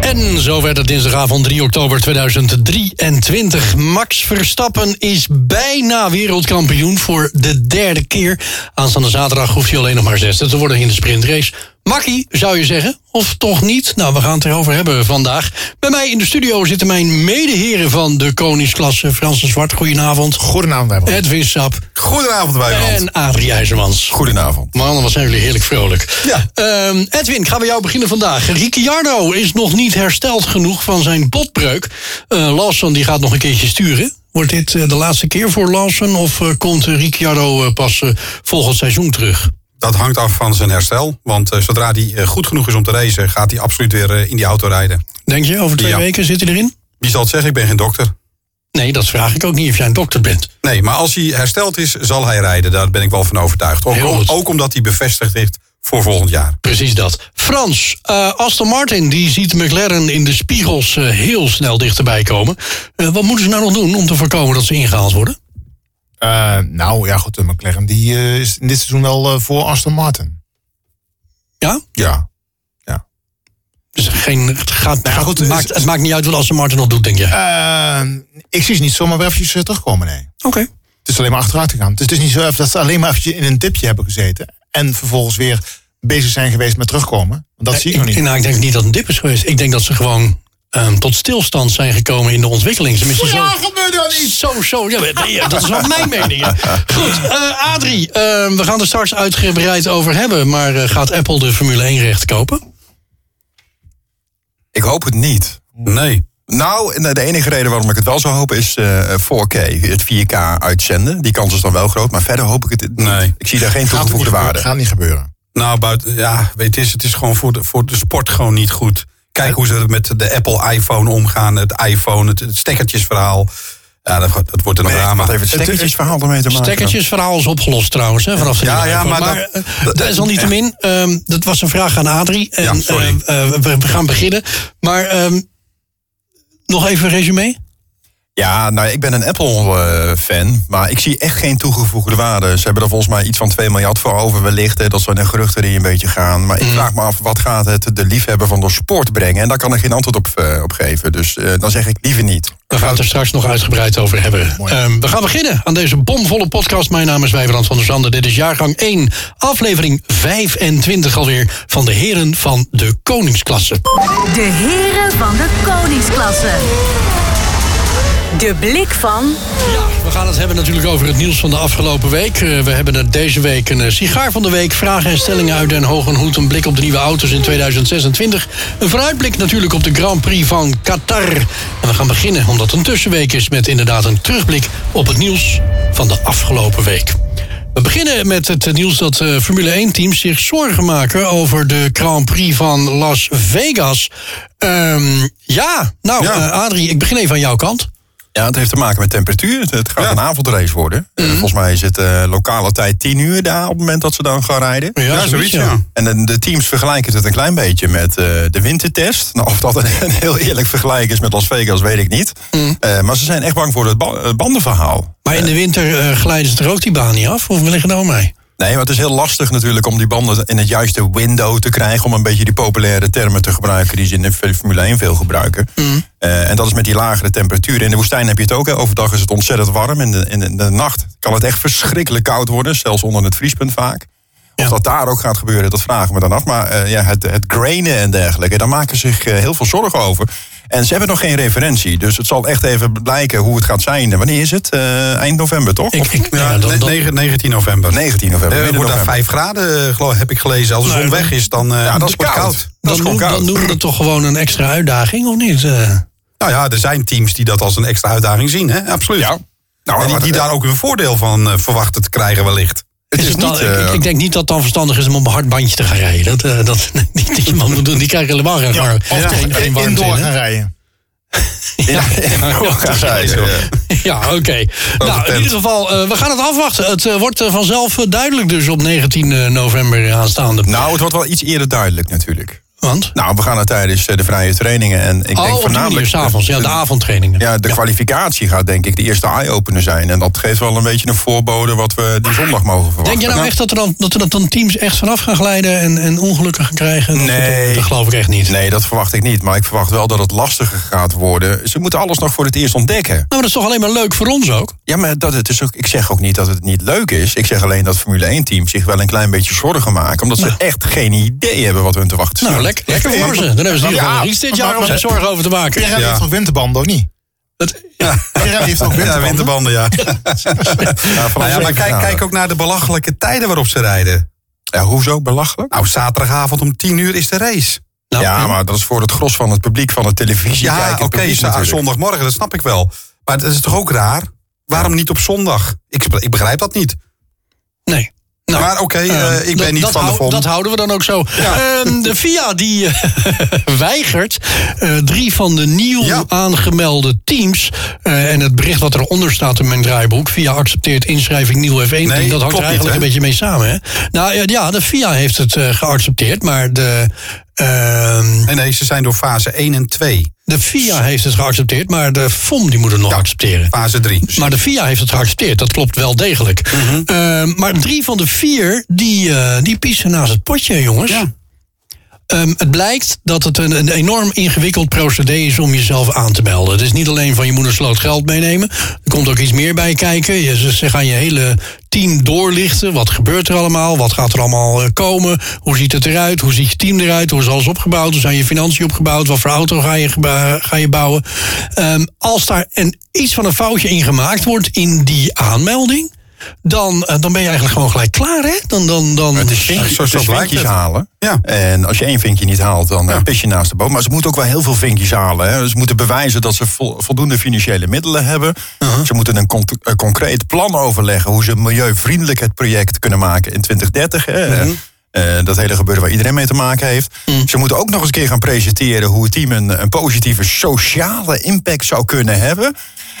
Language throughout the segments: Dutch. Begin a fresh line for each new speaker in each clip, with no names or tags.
En zo werd het dinsdagavond 3 oktober 2023. Max Verstappen is bijna wereldkampioen voor de derde keer. Aanstaande zaterdag hoeft hij alleen nog maar zesde te worden in de sprintrace. Makkie, zou je zeggen? Of toch niet? Nou, we gaan het erover hebben vandaag. Bij mij in de studio zitten mijn medeheren van de koningsklasse. Frans de Zwart, goedenavond.
Goedenavond, Wijbrand.
Edwin Sap
Goedenavond, Wijbrand.
en Adrie IJzermans.
Goedenavond.
Mannen, wat zijn jullie heerlijk vrolijk.
Ja.
Ehm, Edwin, gaan we jou beginnen vandaag. Ricciardo is nog niet hersteld genoeg van zijn botbreuk. Eh Lawson die gaat nog een keertje sturen. Wordt dit eh, de laatste keer voor Lawson of eh, komt eh, Ricciardo eh, pas eh, volgend seizoen terug?
Dat hangt af van zijn herstel. Want eh, zodra hij eh, goed genoeg is om te racen, gaat hij absoluut weer eh, in die auto rijden.
Denk je, over twee
Ja.
weken zit hij erin?
Wie zal het zeggen? Ik ben geen dokter.
Nee, dat vraag ik ook niet of jij een dokter bent.
Nee, maar als hij hersteld is, zal hij rijden. Daar ben ik wel van overtuigd. Ook,
Heel goed.
ook omdat hij bevestigd is voor volgend jaar.
Precies dat. Frans, eh, Aston Martin die ziet McLaren in de spiegels eh, heel snel dichterbij komen. Eh, wat moeten ze nou nog doen om te voorkomen dat ze ingehaald worden?
Eh, nou ja, goed, eh, McLaren die, eh, is in dit seizoen wel eh, voor Aston Martin.
Ja?
Ja.
Dus geen, het, gaat,
ja,
gaat-
goed,
het maakt,
het-
het maakt niet uit wat Aston Martin nog doet, denk je.
Ehm, ik zie ze niet zomaar weer eventjes eh, terugkomen, nee.
Oké.
Het is alleen maar achteruit gegaan. Dus het is niet zo even dat ze alleen maar eventjes in een dipje hebben gezeten. En vervolgens weer bezig zijn geweest met terugkomen. Want dat zie ik nog
Ik,
niet.
nou, ik denk niet dat het een dip is geweest. Ik denk dat ze gewoon ehm, tot stilstand zijn gekomen in de ontwikkeling. Tenminste, zo,
gebeurt dan
zo, zo. Ja, maar- ja, dat is wel mijn mening. ja. Goed, eh, Adrie, ehm, we gaan er straks uitgebreid over hebben. Maar eh, gaat Apple de Formule 1 recht kopen?
Ik hoop het niet.
Nee.
Nou, de enige reden waarom ik het wel zou hopen is eh 4K, het 4K uitzenden. Die kans is dan wel groot, maar verder hoop ik het niet.
Nee.
Ik zie daar geen
Gaat het niet
toegevoegde
gebeuren.
waarde.
Gaat niet gebeuren.
Nou, buiten, ja, weet je, het is, het is gewoon voor de, voor de sport gewoon niet goed. Kijk hoe ze met de Apple iPhone omgaan, het iPhone, het, het stekkertjesverhaal. Ja, dat, dat wordt een
Nee,
drama.
wat heeft het stekkertjesverhaal ermee te maken?
Stekkertjesverhaal is opgelost trouwens, hè, vanaf de
Ja,
nieuwe
ja,
iPhone.
maar dat-
eh, desalniettemin, ehm, dat was een vraag aan Adrie. En,
Ja, sorry.
eh, eh, we, we gaan beginnen. Maar ehm, nog even een resume?
Ja, nou, ik ben een Apple-fan, maar ik zie echt geen toegevoegde waarde. Ze hebben er volgens mij iets van 2 miljard voor over wellicht. Hè, dat zijn de geruchten die een beetje gaan. Maar
Mm.
ik vraag me af, wat gaat het de liefhebber van de sport brengen? En daar kan ik geen antwoord op, eh, op geven. Dus eh, dan zeg ik liever niet.
We gaan het er straks nog uitgebreid over hebben. Ehm, we gaan beginnen aan deze bomvolle podcast. Mijn naam is Wijverand van der Zanden. Dit is jaargang 1, aflevering 25 alweer... van de heren van de koningsklasse.
De heren van de koningsklasse. De blik van
We gaan het hebben natuurlijk over het nieuws van de afgelopen week. Eh, we hebben er deze week een eh, sigaar van de week. Vragen en stellingen uit Den Hoog en Hoed. Een blik op de nieuwe auto's in 2026. Een vooruitblik natuurlijk op de Grand Prix van Qatar. En we gaan beginnen, omdat het een tussenweek is... met inderdaad een terugblik op het nieuws van de afgelopen week. We beginnen met het nieuws dat eh, Formule 1-teams zich zorgen maken over de Grand Prix van Las Vegas. Ehm, ja, nou,
Ja.
eh, Adrie, ik begin even aan jouw kant.
Ja, het heeft te maken met temperatuur. Het- Het gaat
Ja.
een avondrace worden. Eh,
Mhm.
volgens mij is het eh, lokale tijd 10 uur daar op het moment dat ze dan gaan rijden.
Ja, zoiets,
zoiets,
ja.
ja.
En de, de teams vergelijken het een klein beetje met eh, de wintertest. Nou, of dat een, een heel eerlijk vergelijk is met Las Vegas, weet ik niet.
Mhm.
Eh, maar ze zijn echt bang voor het ba- eh, bandenverhaal.
Maar in de winter eh, glijden ze er ook die baan niet af? Of we liggen nou mee?
Nee, maar het is heel lastig natuurlijk om die banden in het juiste window te krijgen. Om een beetje die populaire termen te gebruiken die ze in de Formule 1 veel gebruiken.
Mm.
Eh, en dat is met die lagere temperaturen. In de woestijn heb je het ook. Hè. Overdag is het ontzettend warm. In de, in de nacht kan het echt verschrikkelijk koud worden. Zelfs onder het vriespunt vaak. Of dat daar ook gaat gebeuren, dat vragen we dan af. Maar eh, ja, het, het grainen en dergelijke, daar maken ze zich eh, heel veel zorgen over. En ze hebben nog geen referentie. Dus het zal echt even blijken hoe het gaat zijn. En Wanneer is het? Eh, eind november, toch?
Ik,
Of
ik,
Ja,
ja, dan, dan-
9 19 november.
19 november.
Eh,
midden
wordt daar
november.
5 graden, eh, geloof, heb ik gelezen. Als de
Nee,
zon weg is, dan, eh
Ja, dat is
wordt het
koud. Dat
dan,
is gewoon
noem- dan
koud.
noemen we dat toch gewoon een extra uitdaging, of niet? Eh,
Nou ja, er zijn teams die dat als een extra uitdaging zien, hè? Absoluut.
Ja.
Nou, en die, die daar ook hun voordeel van eh, verwachten te krijgen wellicht.
Het
is
is
het dan-
niet, eh,
ik, ik denk niet dat het dan verstandig is om op een hard bandje te gaan rijden. Dat, eh, dat niet dat iemand moet doen. Die krijgen helemaal geen,
Ja,
warm-
of
geen-
toch
geen warmte
indoor
in, hè?
gaan rijden.
Ja, ja,
Ja,
ja.
Ja, oké. Nou, in
tent.
ieder geval, eh, we gaan het afwachten. Het eh, wordt eh, vanzelf eh, duidelijk dus op 19 november aanstaande.
Nou, het wordt wel iets eerder duidelijk natuurlijk.
Want?
Nou, we gaan het tijdens eh, de vrije trainingen. En ik
oh,
denk
op die manier,
voornamelijk.
s'avonds. Ja, de avondtrainingen.
Ja, de kwalificatie gaat denk ik de eerste eye-opener zijn. En dat geeft wel een beetje een voorbode wat we die zondag mogen verwachten.
Denk je nou echt dat er dan, dat er dat dan teams echt vanaf gaan glijden en, en ongelukken gaan krijgen? Dat-
Nee.
Dat, dat geloof ik echt niet. Nou,
Nee, dat verwacht ik niet. Maar ik verwacht wel dat het lastiger gaat worden. Ze moeten alles nog voor het eerst ontdekken.
maar dat is toch alleen maar leuk voor ons ook?
Ja, maar dat het is ook, ik zeg ook niet dat het niet leuk is. Ik zeg alleen dat Formule 1-team zich wel een klein beetje zorgen maken. Omdat
Nou.
ze echt geen idee hebben wat hun te wachten staat.
Nou, lek- lekker voor ze. Dan hebben ze in ieder geval
Ja,
iets dit
maar-
jaar om
maar-
zich zorgen over te maken.
Pirelli
Ja.
heeft nog winterbanden, of niet?
Dat-
Pirelli heeft nog
Ja,
winterbanden.
winterbanden, ja.
vanaf
Nou ja, maar
zeven
kijk,
graden.
kijk ook naar de belachelijke tijden waarop ze rijden.
Ja, hoezo belachelijk?
Nou, zaterdagavond om 10 uur is de race.
Nou,
ja, maar dat is voor het gros van het publiek, van de televisie.
Ja, oké, za-
okay,
zondagmorgen, dat snap ik wel. Maar dat is toch ook raar? Waarom niet op zondag? Ik, sp- ik begrijp dat niet.
Nee. Nou,
maar oké,
Eh,
eh, ik
dat-
ben niet
dat
van de
hou-
VOM.
Dat houden we dan ook zo. Ehm, de FIA die eh, weigert eh, drie van de nieuw
Ja.
aangemelde teams... eh, en het bericht wat eronder staat in mijn draaiboek... FIA accepteert inschrijving nieuw F1 team.
Nee,
Dat hangt er
klopt niet,
eigenlijk
hè?
een beetje mee samen. Hè? Nou ja, ja, de FIA heeft het eh, geaccepteerd, maar de... ehm,
Nee, nee, ze zijn door fase 1 en 2.
de FIA heeft het geaccepteerd, maar de FOM die moet het nog accepteren.
Fase 3.
Dus
Maar de FIA heeft het geaccepteerd, dat klopt wel degelijk. Eh, maar drie van de vier, die, eh, die piezen naast het potje, jongens. Ehm, het blijkt dat het een, een enorm ingewikkeld procedé is om jezelf aan te melden. Het is niet alleen van je moet een sloot geld meenemen. Er komt ook iets meer bij kijken. Je, ze, ze gaan je hele team doorlichten. Wat gebeurt er allemaal? Wat gaat er allemaal eh, komen? Hoe ziet het eruit? Hoe ziet je team eruit? Hoe is alles opgebouwd? Hoe zijn je financiën opgebouwd? Wat voor auto ga je, geba- ga je bouwen? Ehm, als daar een, iets van een foutje in gemaakt wordt in die aanmelding... Dan, eh, dan ben je eigenlijk gewoon gelijk klaar, hè? Dan, dan, dan...
Het is vinkjes,
zo-
het
zo
is
dus blijkt
vinkjes
het.
halen.
Ja.
En als je één vinkje niet haalt, dan eh, pis je naast de boom. Maar ze moeten ook wel heel veel vinkjes halen. Hè. Ze moeten bewijzen dat ze vo- voldoende financiële middelen hebben.
Uh-huh.
Ze moeten een con- eh, concreet plan overleggen... hoe ze milieuvriendelijk het project kunnen maken in 2030. Hè. Eh, dat hele gebeuren waar iedereen mee te maken heeft.
Mm.
Ze moeten ook nog eens een keer gaan presenteren... hoe het team een, een positieve sociale impact zou kunnen hebben.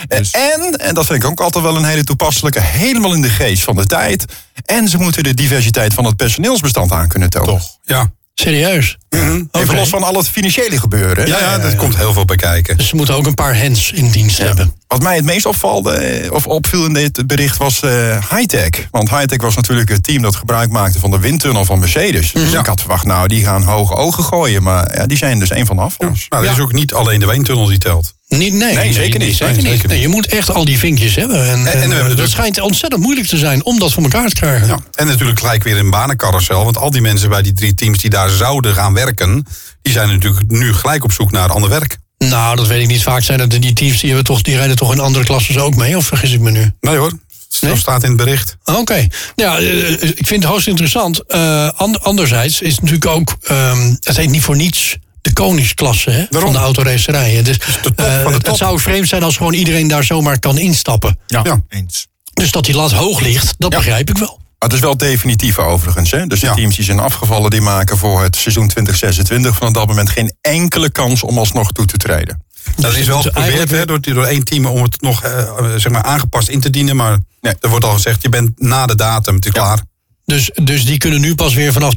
Eh,
Dus-
En, en dat vind ik ook altijd wel een hele toepasselijke... helemaal in de geest van de tijd. En ze moeten de diversiteit van het personeelsbestand aan kunnen tonen. Toch.
Ja.
Serieus?
Mhm. Even
Oké.
los van al het financiële gebeuren.
Ja, ja,
Eh,
dat komt heel veel bij kijken.
Dus ze moeten ook een paar hands in dienst hebben.
Wat mij het meest opvalde, eh, of opviel in dit bericht, was eh high-tech. Want high-tech was natuurlijk het team dat gebruik maakte van de windtunnel van Mercedes.
Mhm.
Dus ik had verwacht, nou, die gaan hoge ogen gooien. Maar ja, die zijn dus een van de afvallers.
Nou, dat is ook niet alleen de wijntunnel die telt.
Niet, nee, nee,
zeker niet.
Zeker
Nee,
niet.
zeker
Nee, je moet echt al die vinkjes hebben. En,
en we
en, eh,
hebben
dat
natuurlijk-
schijnt ontzettend moeilijk te zijn om dat voor elkaar te krijgen.
Ja. En natuurlijk gelijk weer een banencarousel. Want al die mensen bij die drie teams die daar zouden gaan werken... die zijn natuurlijk nu gelijk op zoek naar ander werk.
Nou, dat weet ik niet. Vaak zijn dat die teams die, hebben toch, die rijden toch in andere klassen ook mee, of vergis ik me nu?
Nee hoor, dat
Nee?
staat in het bericht.
Dus
Oké. Ja, eh, ik vind het hoogst interessant. Eh, an- anderzijds is het natuurlijk ook, ehm, het heet niet voor niets de koningsklasse hè, van
Daarom.
de autoracerijen. Dus,
de top
eh,
van de
het
top.
zou vreemd zijn als gewoon iedereen daar zomaar kan instappen.
Ja.
Ja.
Eens.
Dus dat die lat hoog ligt, dat begrijp ik wel.
Maar Ah, het is wel definitief overigens. Hè? Dus de
Ja.
teams die zijn afgevallen, die maken voor het seizoen 2026 vanaf dat moment geen enkele kans om alsnog toe te treden.
Dat is wel eens
dus
geprobeerd
eigenlijk-
hè, door, door één team om het nog eh, eh, zeg maar aangepast in te dienen. Maar
Nee.
er wordt al gezegd, je bent na de datum, het is klaar.
Dus, dus die kunnen nu pas weer vanaf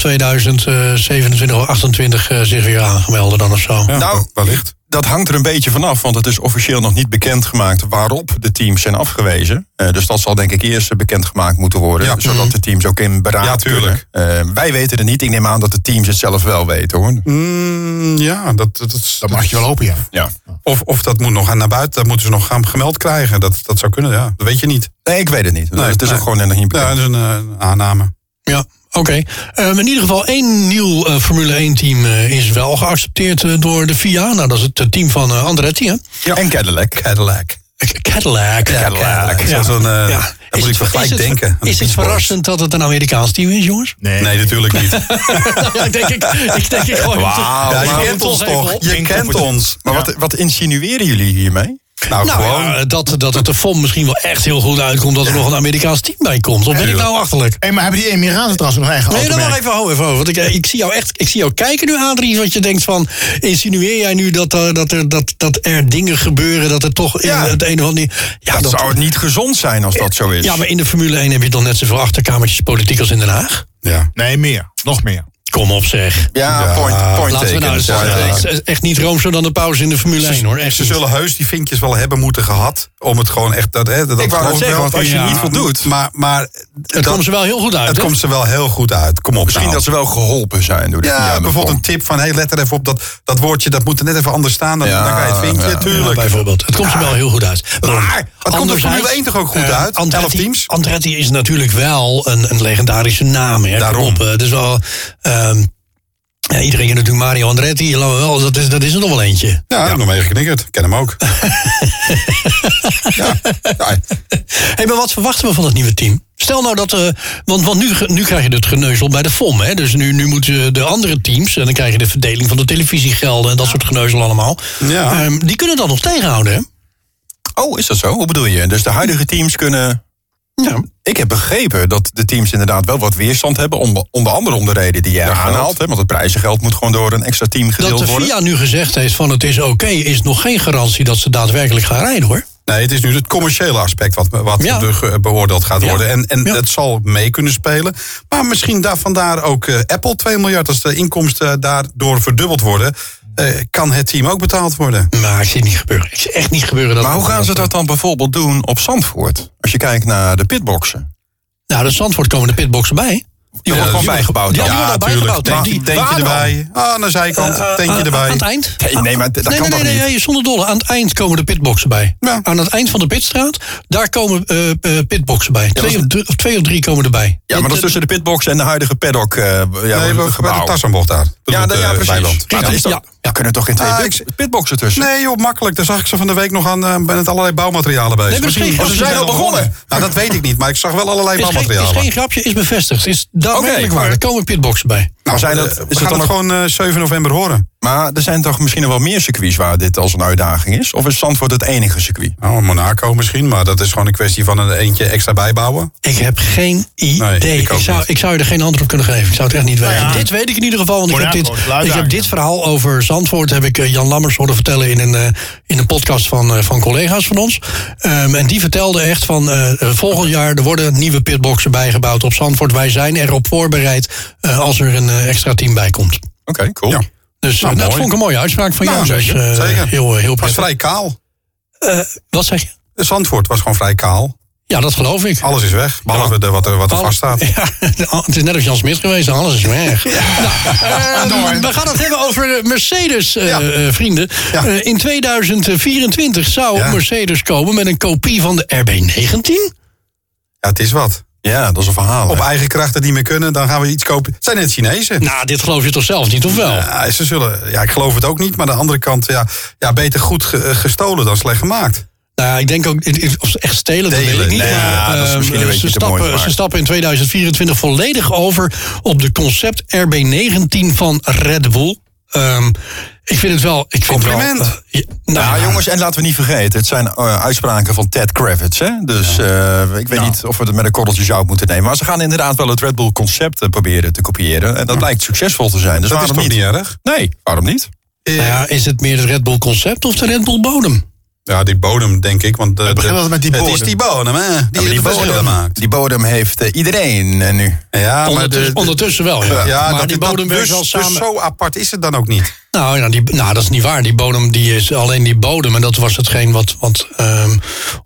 2027 of 28 eh, zich weer aanmelden dan of zo.
Ja,
Nou,
Oh, wellicht.
Dat hangt er een beetje vanaf, want het is officieel nog niet bekendgemaakt waarop de teams zijn afgewezen. Eh, dus dat zal denk ik eerst eh, bekendgemaakt moeten worden,
Ja. Mhm.
zodat de teams ook in beraad
Ja, tuurlijk.
kunnen. Eh, wij weten het niet, ik neem aan dat de teams het zelf wel weten hoor.
Mm, ja, dat, dat, dat,
Dat mag je wel hopen, ja.
Ja.
Of, of dat moet nog aan naar buiten, dat moeten ze nog gaan gemeld krijgen. Dat, dat zou kunnen, ja. Dat weet je niet.
Nee, ik weet het niet.
Nee,
het is
nee.
ook gewoon nog niet
Ja,
bekend.
dat is een eh, aanname.
Ja, oké. Oké. Ehm, in ieder geval één nieuw eh, Formule 1-team is wel geaccepteerd eh, door de FIA. Nou, dat is het eh, team van eh, Andretti, hè?
En Cadillac.
Cadillac.
C- Cadillac.
Ja, Cadillac.
Ja.
Zo'n, eh,
Ja.
daar moet ik
het-
gelijk
is het-
denken. Aan de
Is het
Beach Boys.
verrassend dat het een Amerikaans team is, jongens?
Nee, natuurlijk niet.
ja, ik denk ik, ik, denk ik gooi het-
Wauw,
ik
Ja,
gooi
je
maar
het
kent ons
even
toch?
op.
Je kent ons.
Maar wat, wat insinueren jullie hiermee?
Nou,
Nou
gewoon.
ja, dat, dat het de FOM misschien wel echt heel goed uitkomt... dat er nog een Amerikaans team bij komt. Of ben ik nou achterlijk?
Hey, maar hebben die Emiraten trouwens nog een eigen
Nee, dan
automerk?
maar even, hou even over. Want ik, eh, ik zie jou echt, ik zie jou kijken nu, Adrie, want je denkt van, insinueer jij nu dat, eh, dat, er, dat, dat er dingen gebeuren, dat er toch in
Ja.
het een of ander... Ja,
dat
dat-
zou het niet gezond zijn als dat zo is.
ja, maar in de Formule 1 heb je dan net zoveel achterkamertjes politiek als in Den Haag?
Ja.
Nee, meer. Nog meer.
Kom op zeg.
Ja, point, point
Laten we
taken.
nou eens
point
zeggen,
taken.
het is echt niet roomser dan de pauze in de Formule 1 hoor. Echt
Ze
niet.
zullen heus die vinkjes wel hebben moeten gehad. Om het gewoon echt. Dat, hè, dat
Ik wou net
gewoon
zeggen,
wel-
want als je
Ja.
niet voldoet-
Maar, maar
het komt ze wel heel goed uit.
het
hè?
komt ze wel heel goed uit. Kom op.
Misschien
nou.
dat ze wel geholpen zijn door de
Ja,
FIA met
bijvoorbeeld een
pomp.
tip van. Hey, let er even op dat, dat woordje. Dat moet er net even anders staan. Dan,
Ja,
dan kan je het vinkje.
ja,
Ja,
tuurlijk.
bijvoorbeeld. Het komt ze wel heel goed uit.
Maar het komt er
anderzijds,
Formule 1 toch ook goed
eh,
uit? Elf teams?
Andretti is natuurlijk wel een, een legendarische naam. Hè?
Daarom.
Kom Op, eh, het is wel... ehm, ja, iedereen kent natuurlijk Mario Andretti. laten we Wel, dat, is, dat is er nog wel eentje.
Ja, ik heb nog mee geknikkerd. Ik ken hem ook. ja. Ja.
Hey, maar wat verwachten we van het nieuwe team? Stel nou dat... eh, want want nu, ge- nu krijg je het geneuzel bij de FOM. Hè? Dus nu, nu moeten de andere teams... en dan krijg je de verdeling van de televisiegelden... en dat soort geneuzel allemaal.
Ja.
Ehm, die kunnen dat nog tegenhouden, hè?
Oh, is dat zo? Hoe bedoel je? Dus de huidige teams kunnen...
Ja.
Ik heb begrepen dat de teams inderdaad wel wat weerstand hebben. Onder, onder andere om de reden die jij aanhaalt. Hè, want het prijzengeld moet gewoon door een extra team
Dat
gedeeld
de
worden.
FIA nu gezegd heeft van het is oké... is nog geen garantie dat ze daadwerkelijk gaan rijden, hoor.
Nee, het is nu het commerciële aspect wat, wat
Ja.
er ge- beoordeeld gaat
Ja.
worden. En, en
Ja.
het zal mee kunnen spelen. Maar misschien daar vandaar ook eh, Apple 2 miljard. Als de inkomsten daardoor verdubbeld worden, eh, kan het team ook betaald worden.
Maar ik zie het niet gebeuren. Ik zie echt niet gebeuren. Dat
Maar hoe gaan ze dat dan bijvoorbeeld doen op Zandvoort? Als je kijkt naar de pitboxen.
Nou, de Zandvoort komen de pitboxen bij.
Die
Ja,
worden gewoon
die-
bijgebouwd.
ja,
dan.
die worden bijgebouwd.
tuurlijk.
Maar die-
Tankje tankje
waarom?
Ah, erbij. Ah, aan de zijkant, tankje
Eh, Aan
erbij.
het eind?
Nee, nee, maar dat
nee,
kan
nee,
toch
nee,
niet?
nee, zonder dolle. Aan het eind komen de pitboxen bij.
Ja.
Aan het eind van de pitstraat, daar komen eh, eh, pitboxen bij.
dat
Twee
is-
of, drie, of twee of drie komen erbij.
Ja, maar dat is tussen de pitbox en de huidige paddock eh, ja,
Nee, bij- bij de
gebouw.
Tassanbocht daar.
Ja,
Bedoelt,
ja,
eh,
precies.
Bijland.
Maar dat is toch,
Ja.
Er kunnen toch geen twee
Ah,
pit-
ik-
pitboxen tussen?
Nee joh, makkelijk. Daar zag ik ze van de week nog aan eh, ben met allerlei bouwmaterialen bezig.
Nee, maar misschien-
Oh,
ze zijn
al begonnen.
Nou, dat weet ik niet, maar ik zag wel allerlei
Is geen, is
bouwmaterialen.
geen grapje, is bevestigd. Is daadwerkelijk
Oké.
waar. Er komen pitboxen bij.
maar, zijn dat,
Eh, we
Nou, is
gaan
dat
het
dan ook-
gewoon eh, 7 november horen.
maar er zijn toch misschien nog wel meer circuits waar dit als een uitdaging is? Of is Zandvoort het enige circuit?
Nou, Monaco misschien, maar dat is gewoon een kwestie van een eentje extra bijbouwen.
Ik heb geen idee.
Nee,
ik,
ik ook
zou,
niet.
ik zou je er geen antwoord op kunnen geven. Ik zou het echt niet weten.
ja.
Dit weet ik in ieder geval. Want ik heb,
Monaco
dit,
is luid
ik heb
daar.
dit verhaal over Zandvoort... heb ik eh, Jan Lammers horen vertellen in een, eh, in een podcast van, eh, van collega's van ons. Ehm, en die vertelde echt van... eh, eh, volgend jaar er worden nieuwe pitboxen bijgebouwd op Zandvoort. Wij zijn erop voorbereid eh, als er een eh, extra team bij komt.
Oké, cool.
Ja.
Dus eh,
Nou,
dat
mooi.
vond ik een mooie uitspraak van
Nou,
jou. Dus,
zeker,
eh,
zeker.
Heel, eh, heel
Het was
prettig.
vrij kaal.
Eh, wat zeg je?
Zandvoort was gewoon vrij kaal.
Ja, dat geloof ik.
Alles is weg, behalve de, wat er, wat er vast staat.
Ja, het is net als Jan Smit geweest, alles is weg. Nou, ehm, we gaan het hebben over eh,
Ja.
Mercedes-vrienden.
Ja.
Eh, in 2024 zou
Ja.
Mercedes komen met een kopie van de RB19.
Ja, het is wat.
Ja, dat is een verhaal.
Op
hè.
eigen krachten die meer kunnen, dan gaan we iets kopen. Het zijn net Chinezen.
Nou, dit geloof je toch zelf niet, of wel?
Ja, ze zullen, ja, ik geloof het ook niet, maar aan de andere kant, ja, ja beter goed ge- eh, gestolen dan slecht gemaakt.
Nou, ik denk ook, het- het- of ze echt stelen, dat
Delen,
weet ik niet.
nee,
maar,
ja, dat is
ehm,
misschien een beetje
ze,
te mooi
stappen,
gemaakt.
ze stappen in 2024 volledig over op de concept RB19 van Red Bull. Ehm, ik vind het wel... Ik vind
Compliment.
Wel, eh, ja, nou,
Ja,
ja.
jongens, en laten we niet vergeten, het zijn eh, uitspraken van Ted Kravitz. Hè? Dus eh, ik weet niet of we het met een korreltje zout moeten nemen. Maar ze gaan inderdaad wel het Red Bull concept eh, proberen te kopiëren. En dat blijkt succesvol te zijn. Dus
dat is
waarom
toch niet,
niet?
erg?
Nee, waarom niet?
Nou ja, is het meer het Red Bull concept of de Red Bull bodem?
Ja, die bodem, denk ik. Want de,
Het begint
de-
altijd met die
Het is
bodem.
die bodem, hè? Die,
Ja,
die
maar
bodem maakt.
die bodem heeft eh, iedereen eh, nu.
Ja, maar de-
Ondertussen,
de-
ondertussen wel, ja.
ja,
maar
dat-
die
dat-
bodem werkt
dus,
wel samen.
Dus zo apart is het dan ook niet.
Nou, ja, die, nou, dat is niet waar. Die bodem die is alleen die bodem. En dat was hetgeen wat, wat ehm,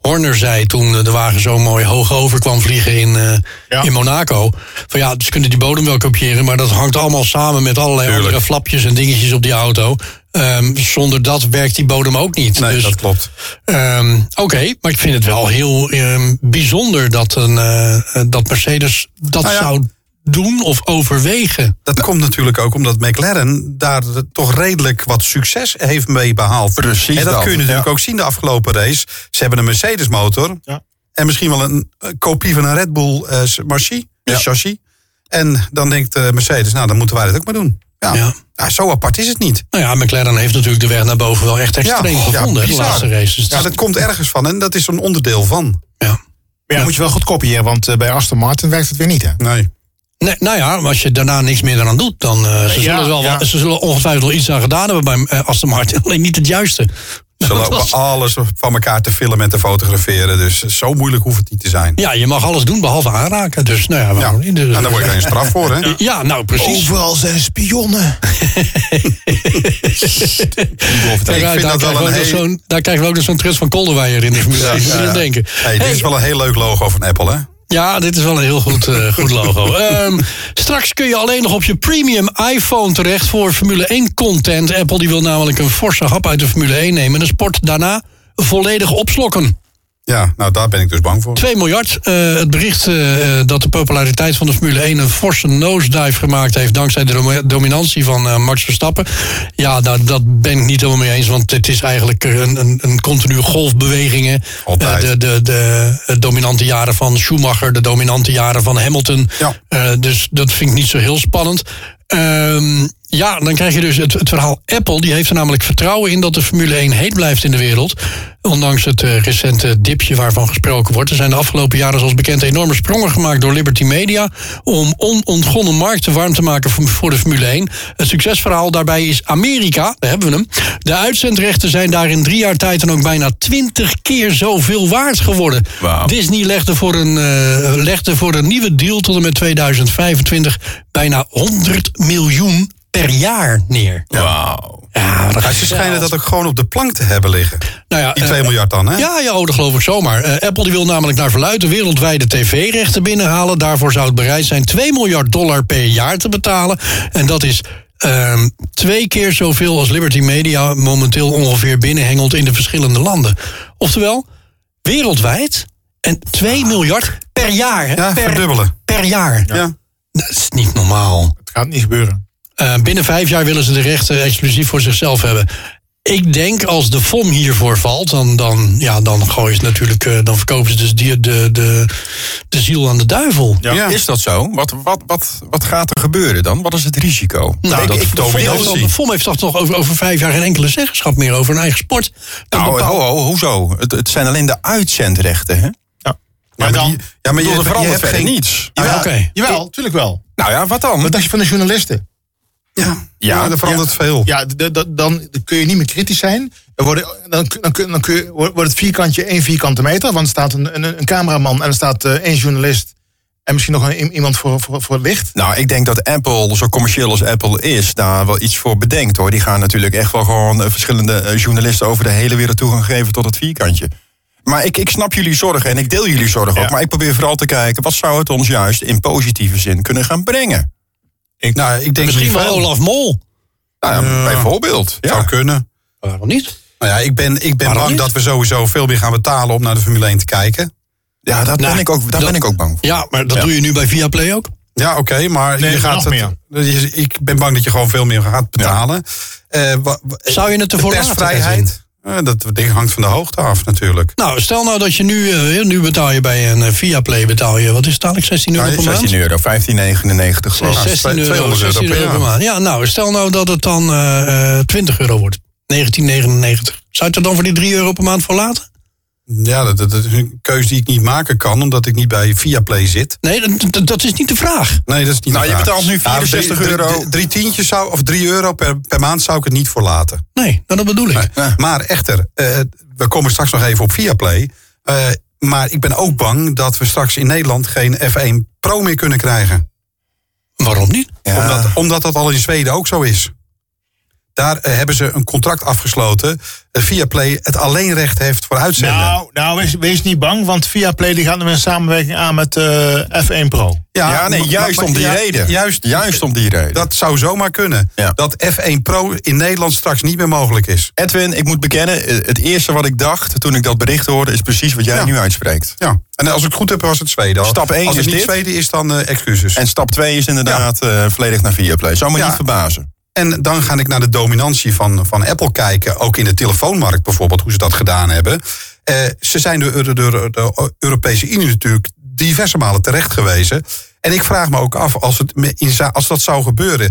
Horner zei toen eh, de wagen zo mooi hoog over kwam vliegen in, eh,
Ja.
in Monaco. Van ja, ze kunnen die bodem wel kopiëren, maar dat hangt allemaal samen met allerlei
Tuurlijk.
andere flapjes en dingetjes op die auto. Ehm, zonder dat werkt die bodem ook niet.
Nee,
dus
dat klopt.
Ehm, Oké, maar ik vind het wel heel ehm, bijzonder dat, een, eh, eh, dat Mercedes dat
Nou ja,
zou doen of overwegen.
Dat komt natuurlijk ook omdat McLaren daar toch redelijk wat succes heeft mee behaald.
Precies
En dat,
dat,
kun je natuurlijk
ja.
ook zien de afgelopen race. Ze hebben een Mercedes motor.
Ja.
En misschien wel een eh, kopie van een Red Bull eh chassis. eh, chassis. En dan denkt eh, Mercedes, nou dan moeten wij dat ook maar doen. Ja.
Ja.
Nou, zo apart is het niet.
Nou ja, McLaren heeft natuurlijk de weg naar boven wel echt extreem
ja,
gevonden hè, de
bizar.
laatste races. Dus
Ja, dat komt ergens van en dat is een onderdeel van.
Ja.
Maar ja, moet je wel goed kopiëren, want eh, bij Aston Martin werkt het weer niet, hè?
Nee.
Nee, nou ja, maar als je daarna niks meer eraan doet, dan eh, ze zullen
Ja,
er wel
ja.
wat- ze zullen ongetwijfeld wel iets aan gedaan hebben bij eh, Aston Martin, alleen niet het juiste.
Ze
Dat
lopen
was-
alles van elkaar te filmen en te fotograferen. Dus zo moeilijk hoeft het niet te zijn.
Ja, je mag alles doen behalve aanraken. Dus nou ja,
Ja.
waarom niet? Dus-
En daar word je geen straf voor, hè?
ja, nou precies.
Overal zijn spionnen.
Ik vind dat wel
krijgen we
een
ook nog
heel-
zo'n- daar krijgen we ook nog zo'n Trust van Kolderweijer in. Ik moet
Ja,
even
ja.
denken.
Hey, dit is wel een heel leuk logo van Apple, hè?
Ja, dit is wel een heel goed, eh, goed logo. Ehm, straks kun je alleen nog op je premium iPhone terecht voor Formule 1 content. Apple die wil namelijk een forse hap uit de Formule 1 nemen en de sport daarna volledig opslokken.
Ja, nou daar ben ik dus bang voor.
2 miljard. Eh, het bericht eh, eh, dat de populariteit van de Formule 1 een forse nosedive gemaakt heeft... dankzij de dom- dominantie van eh, Max Verstappen. Ja, nou, dat ben ik niet helemaal mee eens. Want het is eigenlijk een, een, een continue golfbewegingen.
Altijd.
Eh, de, de, de, eh, dominante jaren van Schumacher, de dominante jaren van Hamilton.
Ja.
Eh, dus dat vind ik niet zo heel spannend. Ehm, ja, dan krijg je dus het, het verhaal Apple. Die heeft er namelijk vertrouwen in dat de Formule 1 heet blijft in de wereld. Ondanks het eh, recente dipje waarvan gesproken wordt. Er zijn de afgelopen jaren, zoals bekend, enorme sprongen gemaakt door Liberty Media. om onontgonnen markten warm te maken voor, voor de Formule 1. Het succesverhaal daarbij is Amerika, daar hebben we hem. De uitzendrechten zijn daar in drie jaar tijd dan ook bijna twintig keer zoveel waard geworden.
Wauw.
Disney legde voor, een, eh, legde voor een nieuwe deal tot en met 2025 bijna 100 miljoen per jaar neer.
Wauw.
Ja, dat
Maar ze schijnen dat ook gewoon op de plank te hebben liggen.
Nou ja,
Die
eh,
2 miljard dan, hè?
ja, ja, oh, dat geloof ik zomaar. Eh, Apple die wil namelijk naar verluidt de wereldwijde tv-rechten binnenhalen. Daarvoor zou het bereid zijn 2 miljard dollar per jaar te betalen. En dat is ehm, twee keer zoveel als Liberty Media momenteel ongeveer binnenhengelt in de verschillende landen. Oftewel, wereldwijd en 2 miljard per jaar. hè,
Ja,
per,
verdubbelen.
per jaar.
Ja.
Dat is niet normaal.
Het gaat niet gebeuren.
Eh, binnen vijf jaar willen ze de rechten exclusief voor zichzelf hebben. Ik denk als de FOM hiervoor valt, dan, dan, ja, dan gooien ze natuurlijk, eh, dan verkopen ze dus die, de, de, de ziel aan de duivel.
Ja.
Is dat zo? Wat, wat, wat, wat gaat er gebeuren dan? Wat is het risico?
Nou,
dat
ik- ik- de FOM heeft
dominantie.
toch- de FOM heeft toch nog over, over vijf jaar geen enkele zeggenschap meer over hun eigen sport. Dan
Nou,
bepaalt-
ho, ho, hoezo? Het, het zijn alleen de uitzendrechten, hè?
maar
dan-
die- ja, maar
Ik bedoel,
je,
er
je
verandert
hebt
verder
geen...
niets.
Ja,
Ja,
oké.
Jawel, tuurlijk wel.
Nou ja, wat
Wat
dan?
dacht je van de journalisten?
Ja, ja, er verandert veel.
Ja, d- d- dan kun je niet meer kritisch zijn. Er worden, dan kun- dan, kun- dan kun je, wordt wordt het vierkantje één vierkante meter. Want er staat een, een, een cameraman en er staat eh, één journalist. En misschien nog een, iemand voor, voor, voor het licht.
Nou, ik denk dat Apple, zo commercieel als Apple is, daar wel iets voor bedenkt hoor. Die gaan natuurlijk echt wel gewoon eh, verschillende eh, journalisten over de hele wereld toegang geven tot het vierkantje. Maar ik, ik snap jullie zorgen en ik deel jullie zorgen ook. Maar ik probeer vooral te kijken, wat zou het ons juist in positieve zin kunnen gaan brengen?
nou, ik denk
Misschien
niet
wel
veel.
Olaf Mol.
Nou ja, bijvoorbeeld. Ja.
Eh, Zou kunnen.
Waarom niet?
Nou ja, ik ben, ik ben
Waarom
bang
niet?
dat we sowieso veel meer gaan betalen om naar de Formule 1 te kijken.
Ja, daar,
Nou,
ben, ik ook, daar
dat-
ben ik ook bang voor.
Ja, maar dat
Ja.
doe je nu bij Viaplay ook.
Ja, oké, maar
Nee,
je gaat
nog
het, Dus je- ik ben bang dat je gewoon veel meer gaat betalen. Eh, wa- wa-
Zou je het ervoor
de
laten,
persvrijheid? Eh, dat ding hangt van de hoogte af natuurlijk.
Nou, stel nou dat je nu, eh, nu betaal je bij een eh, Viaplay, betaal je, wat is het eigenlijk, 16 euro per maand?
16 euro, 15,99 geloof ik.
16
200
euro,
euro
16
per
euro per
jaar.
maand. Ja, nou, stel nou dat het dan eh, eh, 20 euro wordt. 1999. Zou je het er dan voor die 3 euro per maand voor laten?
Ja, dat, dat- dat is een keuze die ik niet maken kan, omdat ik niet bij Viaplay zit.
Nee, dat, dat- dat is niet de vraag.
Nee, dat is niet
Nou,
de
je
vraag.
betaalt nu
Nou, drie-
64
drie-
euro.
Drie, drie tientjes zou, of 3 euro per, per maand zou ik het niet voor laten.
Nee, nou, dat bedoel ik.
Ja.
Maar echter, eh, we komen straks nog even op Viaplay. Eh maar ik ben ook bang dat we straks in Nederland geen F1 Pro meer kunnen krijgen.
Waarom niet?
Ja.
Omdat, omdat dat al in Zweden ook zo is. Daar eh, hebben ze een contract afgesloten. eh, via Play het alleenrecht heeft voor uitzenden.
Nou, nou wees, wees niet bang, want Viaplay die gaat nu een samenwerking aan met eh, F1 Pro.
Ja, nee,
maar-
juist
maar-
om die
ja,
reden.
Juist,
Juist om die reden.
dat zou zomaar kunnen.
Ja.
Dat F1 Pro in Nederland straks niet meer mogelijk is.
Edwin, ik moet bekennen, eh, het eerste wat ik dacht toen ik dat bericht hoorde, is precies wat jij
Ja.
nu uitspreekt.
Ja. En als ik het goed heb, was het Zweden. al.
Stap één
als het
is
niet
dit.
Zweden is, dan eh, excuses.
En stap 2 is inderdaad eh, volledig naar Viaplay. Zou me
Ja.
niet verbazen.
En dan ga ik naar de dominantie van, van Apple kijken. Ook in de telefoonmarkt bijvoorbeeld, hoe ze dat gedaan hebben. Eh, ze zijn door de, door de Europese Unie natuurlijk diverse malen terecht gewezen. En ik vraag me ook af, als, het me in, za- als dat zou gebeuren,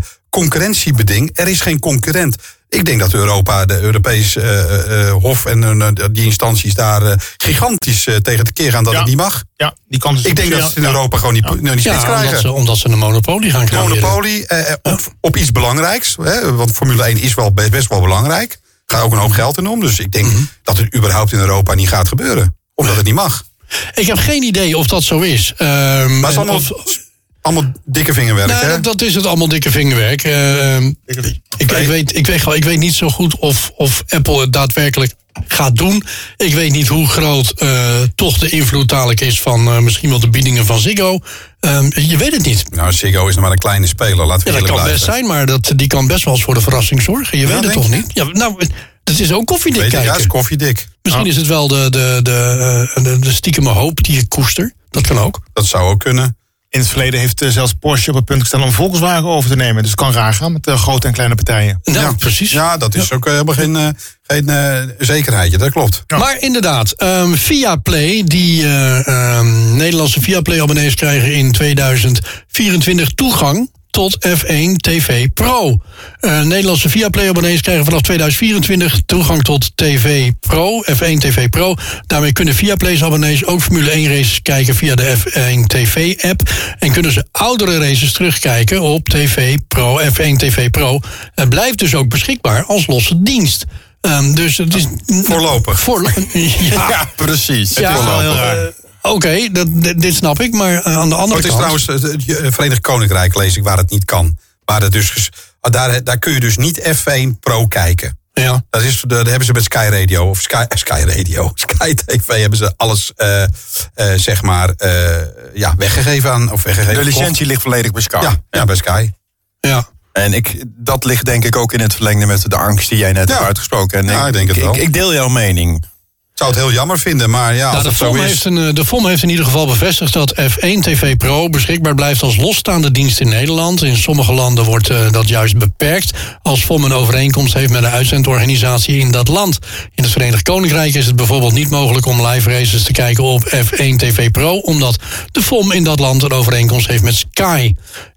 concurrentiebeding, er is geen concurrent. Ik denk dat Europa, de Europese eh, eh, Hof en eh, die instanties daar eh, gigantisch eh, tegen tekeer gaan dat
Ja.
het niet mag.
Ja, die kans is
Ik denk
zeer-
dat ze het in
ja.
Europa gewoon niet, nou, niet steeds
Ja,
krijgen.
omdat ze, omdat ze een monopolie gaan creëren.
Monopolie eh, op, op iets belangrijks. Hè, want Formule 1 is wel best, best wel belangrijk. Gaat ook een hoop geld in om. Dus ik
Mhm.
denk dat het überhaupt in Europa niet gaat gebeuren. Omdat het niet mag.
Ik heb geen idee of dat zo is. Ehm,
Maar het is
en
allemaal,
of-
allemaal dikke vingerwerk.
Nou,
hè?
dat, dat is het allemaal dikke vingerwerk. Ehm,
Dikke-
ik, ik, weet, ik, weet, gewoon- ik weet niet zo goed of, of Apple het daadwerkelijk gaat doen. Ik weet niet hoe groot eh, toch de invloed dadelijk is van eh, misschien wel de biedingen van Ziggo. Ehm, je weet het niet.
Nou, Ziggo is nog maar een kleine speler. Laten we
Ja, dat
eerlijk
kan best
blijven.
zijn, maar dat, die kan best wel eens voor de verrassing zorgen. Je weet het
denk
toch
je?
niet? Ja, nou, dat is ook koffiedik
Weet je,
kijken.
ja, is koffiedik.
Misschien is het wel de, de, de, eh, de, de stiekeme hoop die je koester. Dat kan ook.
Dat zou ook kunnen.
In het verleden heeft eh, zelfs Porsche op het punt gestaan om Volkswagen over te nemen. Dus het kan raar gaan met eh, grote en kleine partijen.
Nou, precies.
Ja, dat is ook helemaal geen, eh, geen eh, zekerheidje. Dat klopt.
Maar inderdaad, ehm Viaplay, die eh, ehm, Nederlandse Viaplay-abonnees krijgen in 2024 toegang tot F1 TV Pro. Eh, Nederlandse Viaplay-abonnees krijgen vanaf 2024 toegang tot TV Pro, F1 TV Pro. Daarmee kunnen Viaplay-abonnees ook Formule 1-races kijken via de F1 TV-app. En kunnen ze oudere races terugkijken op TV Pro, F1 TV Pro. En blijft dus ook beschikbaar als losse dienst. Ehm, dus het is
Voorlopig.
Voorlo- ja,
precies.
ja,
Het voorlopig.
eh, Oké, dat- dit- dit snap ik, maar eh, aan de andere
Maar het is
kant...
trouwens eh, het eh, Verenigd Koninkrijk, lees ik, waar het niet kan. Waar het dus, ges- ah, daar, daar kun je dus niet F1 Pro kijken.
Ja.
Dat, is, dat hebben ze met Sky Radio of Sky, eh, Sky Radio, Sky TV hebben ze alles eh, eh, zeg maar eh, ja, weggegeven aan of weggegeven.
De
verkocht.
licentie ligt volledig bij Sky.
Ja, ja, bij Sky.
Ja.
En ik, dat ligt denk ik ook in het verlengde met de angst die jij net
Ja.
hebt uitgesproken. En
Ja, ik denk het wel.
Ik, ik deel jouw mening.
Ik zou het heel jammer vinden, maar ja, als
Nou, de,
het zo
FOM
is.
heeft een, eh, de FOM heeft in ieder geval bevestigd dat F1 TV Pro beschikbaar blijft als losstaande dienst in Nederland. In sommige landen wordt eh, dat juist beperkt als FOM een overeenkomst heeft met een uitzendorganisatie in dat land. In het Verenigd Koninkrijk is het bijvoorbeeld niet mogelijk om live races te kijken op F1 TV Pro, omdat de FOM in dat land een overeenkomst heeft met Sky.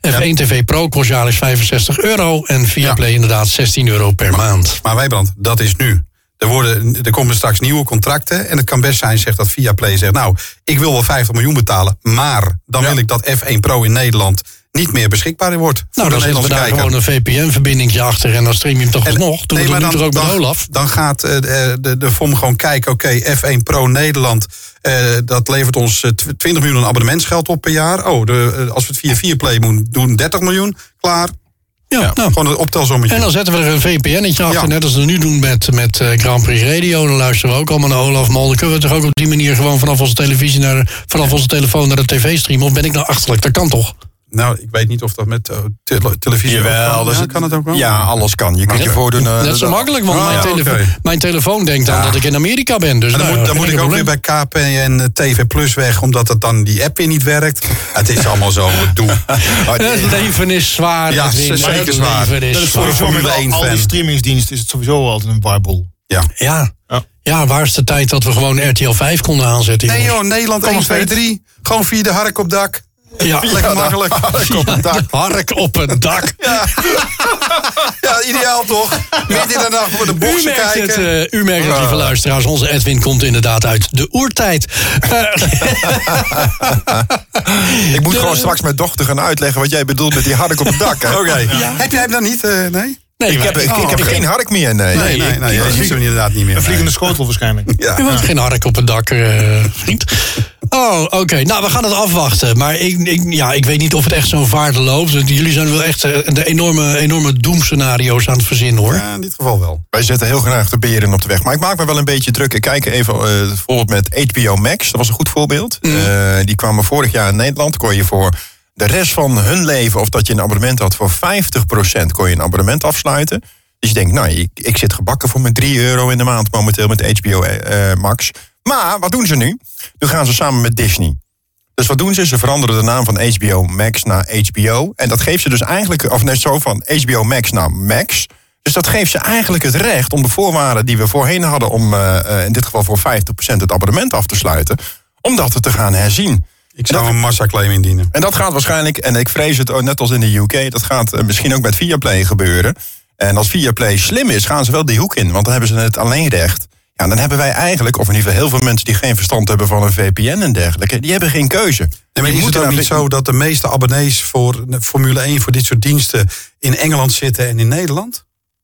F1 TV Pro kost jaarlijks 65 euro en Viaplay inderdaad 16 euro per maand.
Maar Wijbrand, dat is nu. Er, worden, er komen straks nieuwe contracten. En het kan best zijn, zegt dat Viaplay zegt... nou, ik wil wel 50 miljoen betalen... maar dan wil ik dat F1 Pro in Nederland... niet meer beschikbaar wordt voor
Nou,
de
dan zetten we
Nederlandse
daar
kijker.
gewoon een VPN-verbindingje achter en dan stream je hem toch alsnog. Toen
Nee,
we
maar
dat nu toch ook bij
dan,
Olaf.
dan gaat eh, de, de, de FOM gewoon kijken... oké, F1 Pro Nederland, eh, dat levert ons eh, tw- 20 miljoen aan abonnementsgeld op per jaar. Oh, de, eh, als we het via Viaplay moeten doen, 30 miljoen. Klaar,
Ja, nou.
gewoon een optelsommetje.
En dan zetten we er een VPN-etje achter,
Ja.
net als we nu doen met, met eh, Grand Prix Radio. Dan luisteren we ook allemaal naar Olaf Mol. Dan kunnen we toch ook op die manier gewoon vanaf onze televisie naar, vanaf onze telefoon naar de tv streamen. Of ben ik nou achterlijk? Dat kan toch?
Nou, ik weet niet of dat met eh, tele- televisie... ook
Jawel,
kan.
dus
Ja,
het-
kan het ook wel?
Ja, alles kan. Je kunt je voordoen. eh,
dat is zo makkelijk, want
Ah,
mijn,
ja,
telefo-
oké.
mijn telefoon denkt aan dat ik in Amerika ben. Dus
En dan
nou,
moet, dan
geen
moet ik
enkel
ook weer
probleem.
bij KPN TV eh, Plus weg, omdat het dan die app weer niet werkt. Het is allemaal zo gedoe.
Het leven is zwaar.
Ja,
Edwin.
zeker
Het
zwaar.
leven is
Dat is
zwaar.
voor- Formule
Al-
1
Al die
fan.
streamingsdiensten is het sowieso altijd een warboel.
Ja.
Ja.
Ja.
ja, waar is de tijd dat we gewoon RTL 5 konden aanzetten?
Nee
jongens?
joh, Nederland 1, 2, 3. Gewoon via de hark op dak.
Ja.
Lekker makkelijk. Hark op het dak.
Hark op het dak.
Ja, ideaal toch? Midden in de nacht voor de
U
boksen
merkt, het,
kijken.
eh, u merkt
Ah.
het, lieve luisteraars. Onze Edwin komt inderdaad uit de oertijd. Eh,
Ik moet gewoon straks mijn dochter gaan uitleggen wat jij bedoelt met die hark op het dak. hè.
Oké. Heb jij hem dan niet? eh, nee?
nee, Oh,
Ik heb, ik, ik heb geen hark meer, nee.
Nee, nee, nee. Dat is hem inderdaad niet meer.
Ah.
Vliegende schotel waarschijnlijk.
U woont geen hark op het dak, eh, vriend. Oh, oké. Nou, we gaan het afwachten. Maar ik, ik, ja, ik weet niet of het echt zo'n vaarde loopt. Want Jullie zijn wel echt eh, de enorme, enorme doemscenario's aan het verzinnen, hoor.
Ja, in dit geval wel.
Wij zetten heel graag de beren op de weg. Maar ik maak me wel een beetje druk. Ik kijk even eh, bijvoorbeeld met HBO Max. Dat was een goed voorbeeld.
Mm.
Eh, die kwamen vorig jaar in Nederland. Kon je voor de rest van hun leven, of dat je een abonnement had, voor 50% kon je een abonnement afsluiten. Dus je denkt, nou, ik, ik zit gebakken voor mijn 3 euro in de maand momenteel met HBO eh, eh, Max. Maar wat doen ze nu? Nu gaan ze samen met Disney. Dus wat doen ze? Ze veranderen de naam van HBO Max naar HBO. En dat geeft ze dus eigenlijk, of net zo van HBO Max naar Max. Dus dat geeft ze eigenlijk het recht om de voorwaarden die we voorheen hadden om eh, eh, in dit geval voor 50% het abonnement af te sluiten, om dat te gaan herzien.
Ik zou een massaclaim indienen.
En dat gaat waarschijnlijk, en ik vrees het ook net als in de UK, dat gaat eh, misschien ook met Viaplay gebeuren. En als Viaplay slim is, gaan ze wel die hoek in, want dan hebben ze het alleenrecht. Ja, dan hebben wij eigenlijk, of in ieder geval heel veel mensen die geen verstand hebben van een VPN en dergelijke, die hebben geen keuze.
En
Die
maar is het
moeten
ook
dan-
niet zo dat de meeste abonnees voor de Formule 1 voor dit soort diensten in Engeland zitten en in Nederland?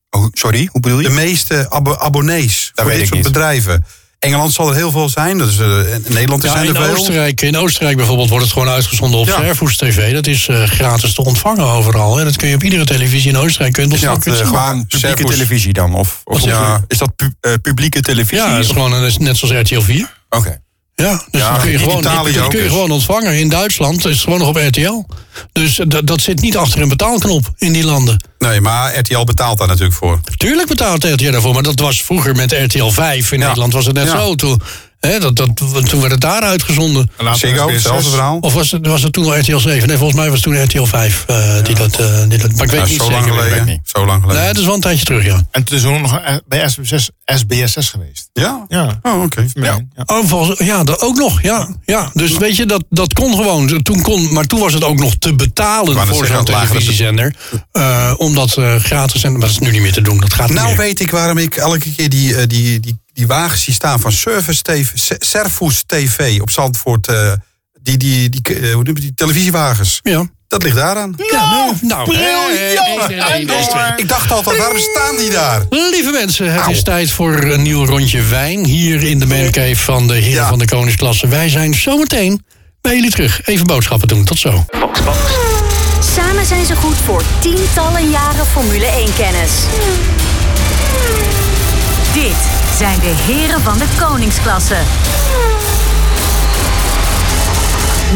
Oh, sorry, hoe bedoel je?
De meeste abo- abonnees voor
weet
dit
ik
soort
niet.
bedrijven. Engeland zal er heel veel zijn. Dus, eh, in Nederland
Ja,
zijn er
in,
veel.
Oostenrijk, in Oostenrijk bijvoorbeeld wordt het gewoon uitgezonden op
Ja.
Servus TV. Dat is eh, gratis te ontvangen overal. En dat kun je op iedere televisie in Oostenrijk. Kun je het
Ja,
nog
het, eh, gewoon
Publieke
Servus.
televisie dan? Of, of
Wat zeg
ja,
je?
is dat pu- eh, publieke televisie?
Ja, het is gewoon een- net zoals RTL 4.
Oké.
Ja, dus
Ja,
dat kun je,
in
gewoon,
Italië
dat
ook
kun je
dus.
gewoon ontvangen. In Duitsland is het gewoon nog op RTL. Dus eh, dat- dat zit niet achter een betaalknop in die landen.
Nee, maar RTL betaalt daar natuurlijk voor.
Tuurlijk betaalt RTL daarvoor, maar dat was vroeger met RTL 5. In Nederland was het net
Ja.
zo. Toen, hè, dat, dat, toen werd het daar uitgezonden.
Ziggo, hetzelfde verhaal.
Of was het, was het toen al RTL 7? Nee, volgens mij was het toen RTL 5 eh, die, dat, eh, die dat... Maar ik weet
Ja,
niet
Ah,
zeker.
zo, lang
weet ik
geleden,
niet.
zo lang geleden.
Nee, dat is wel een tijdje terug, ja.
En toen is er ook nog eh, bij SBS, SBSS geweest.
Ja?
Ja.
Oh, oké.
Ja.
Oh, volgens- ja, dat ook nog, ja. ja. Dus weet je, dat, dat kon gewoon. Toen kon, maar toen was het ook nog te betalen
wou net
voor zo'n
zeggen, lagere-
televisiezender. eh, om dat eh, gratis en Maar dat is nu niet meer te doen, dat gaat
Nou
niet meer.
weet ik waarom ik elke keer die, eh, die, die, die wagens die staan van Service TV, Se- Servus TV op Zandvoort. eh, die, die, die, eh, hoe noem je die televisiewagens.
Ja.
Dat ligt daaraan.
Ja, nee, nou, eh,
briljant!
eh, eh, eh, eh, eh, eh,
Ik dacht altijd, waarom staan die daar?
Lieve mensen, het is tijd voor een nieuw rondje wijn hier in de mancave van de heren
Ja.
van de koningsklasse. Wij zijn zometeen bij jullie terug. Even boodschappen doen, tot zo.
Samen zijn ze goed voor tientallen jaren Formule 1-kennis. Dit zijn de heren van de koningsklasse.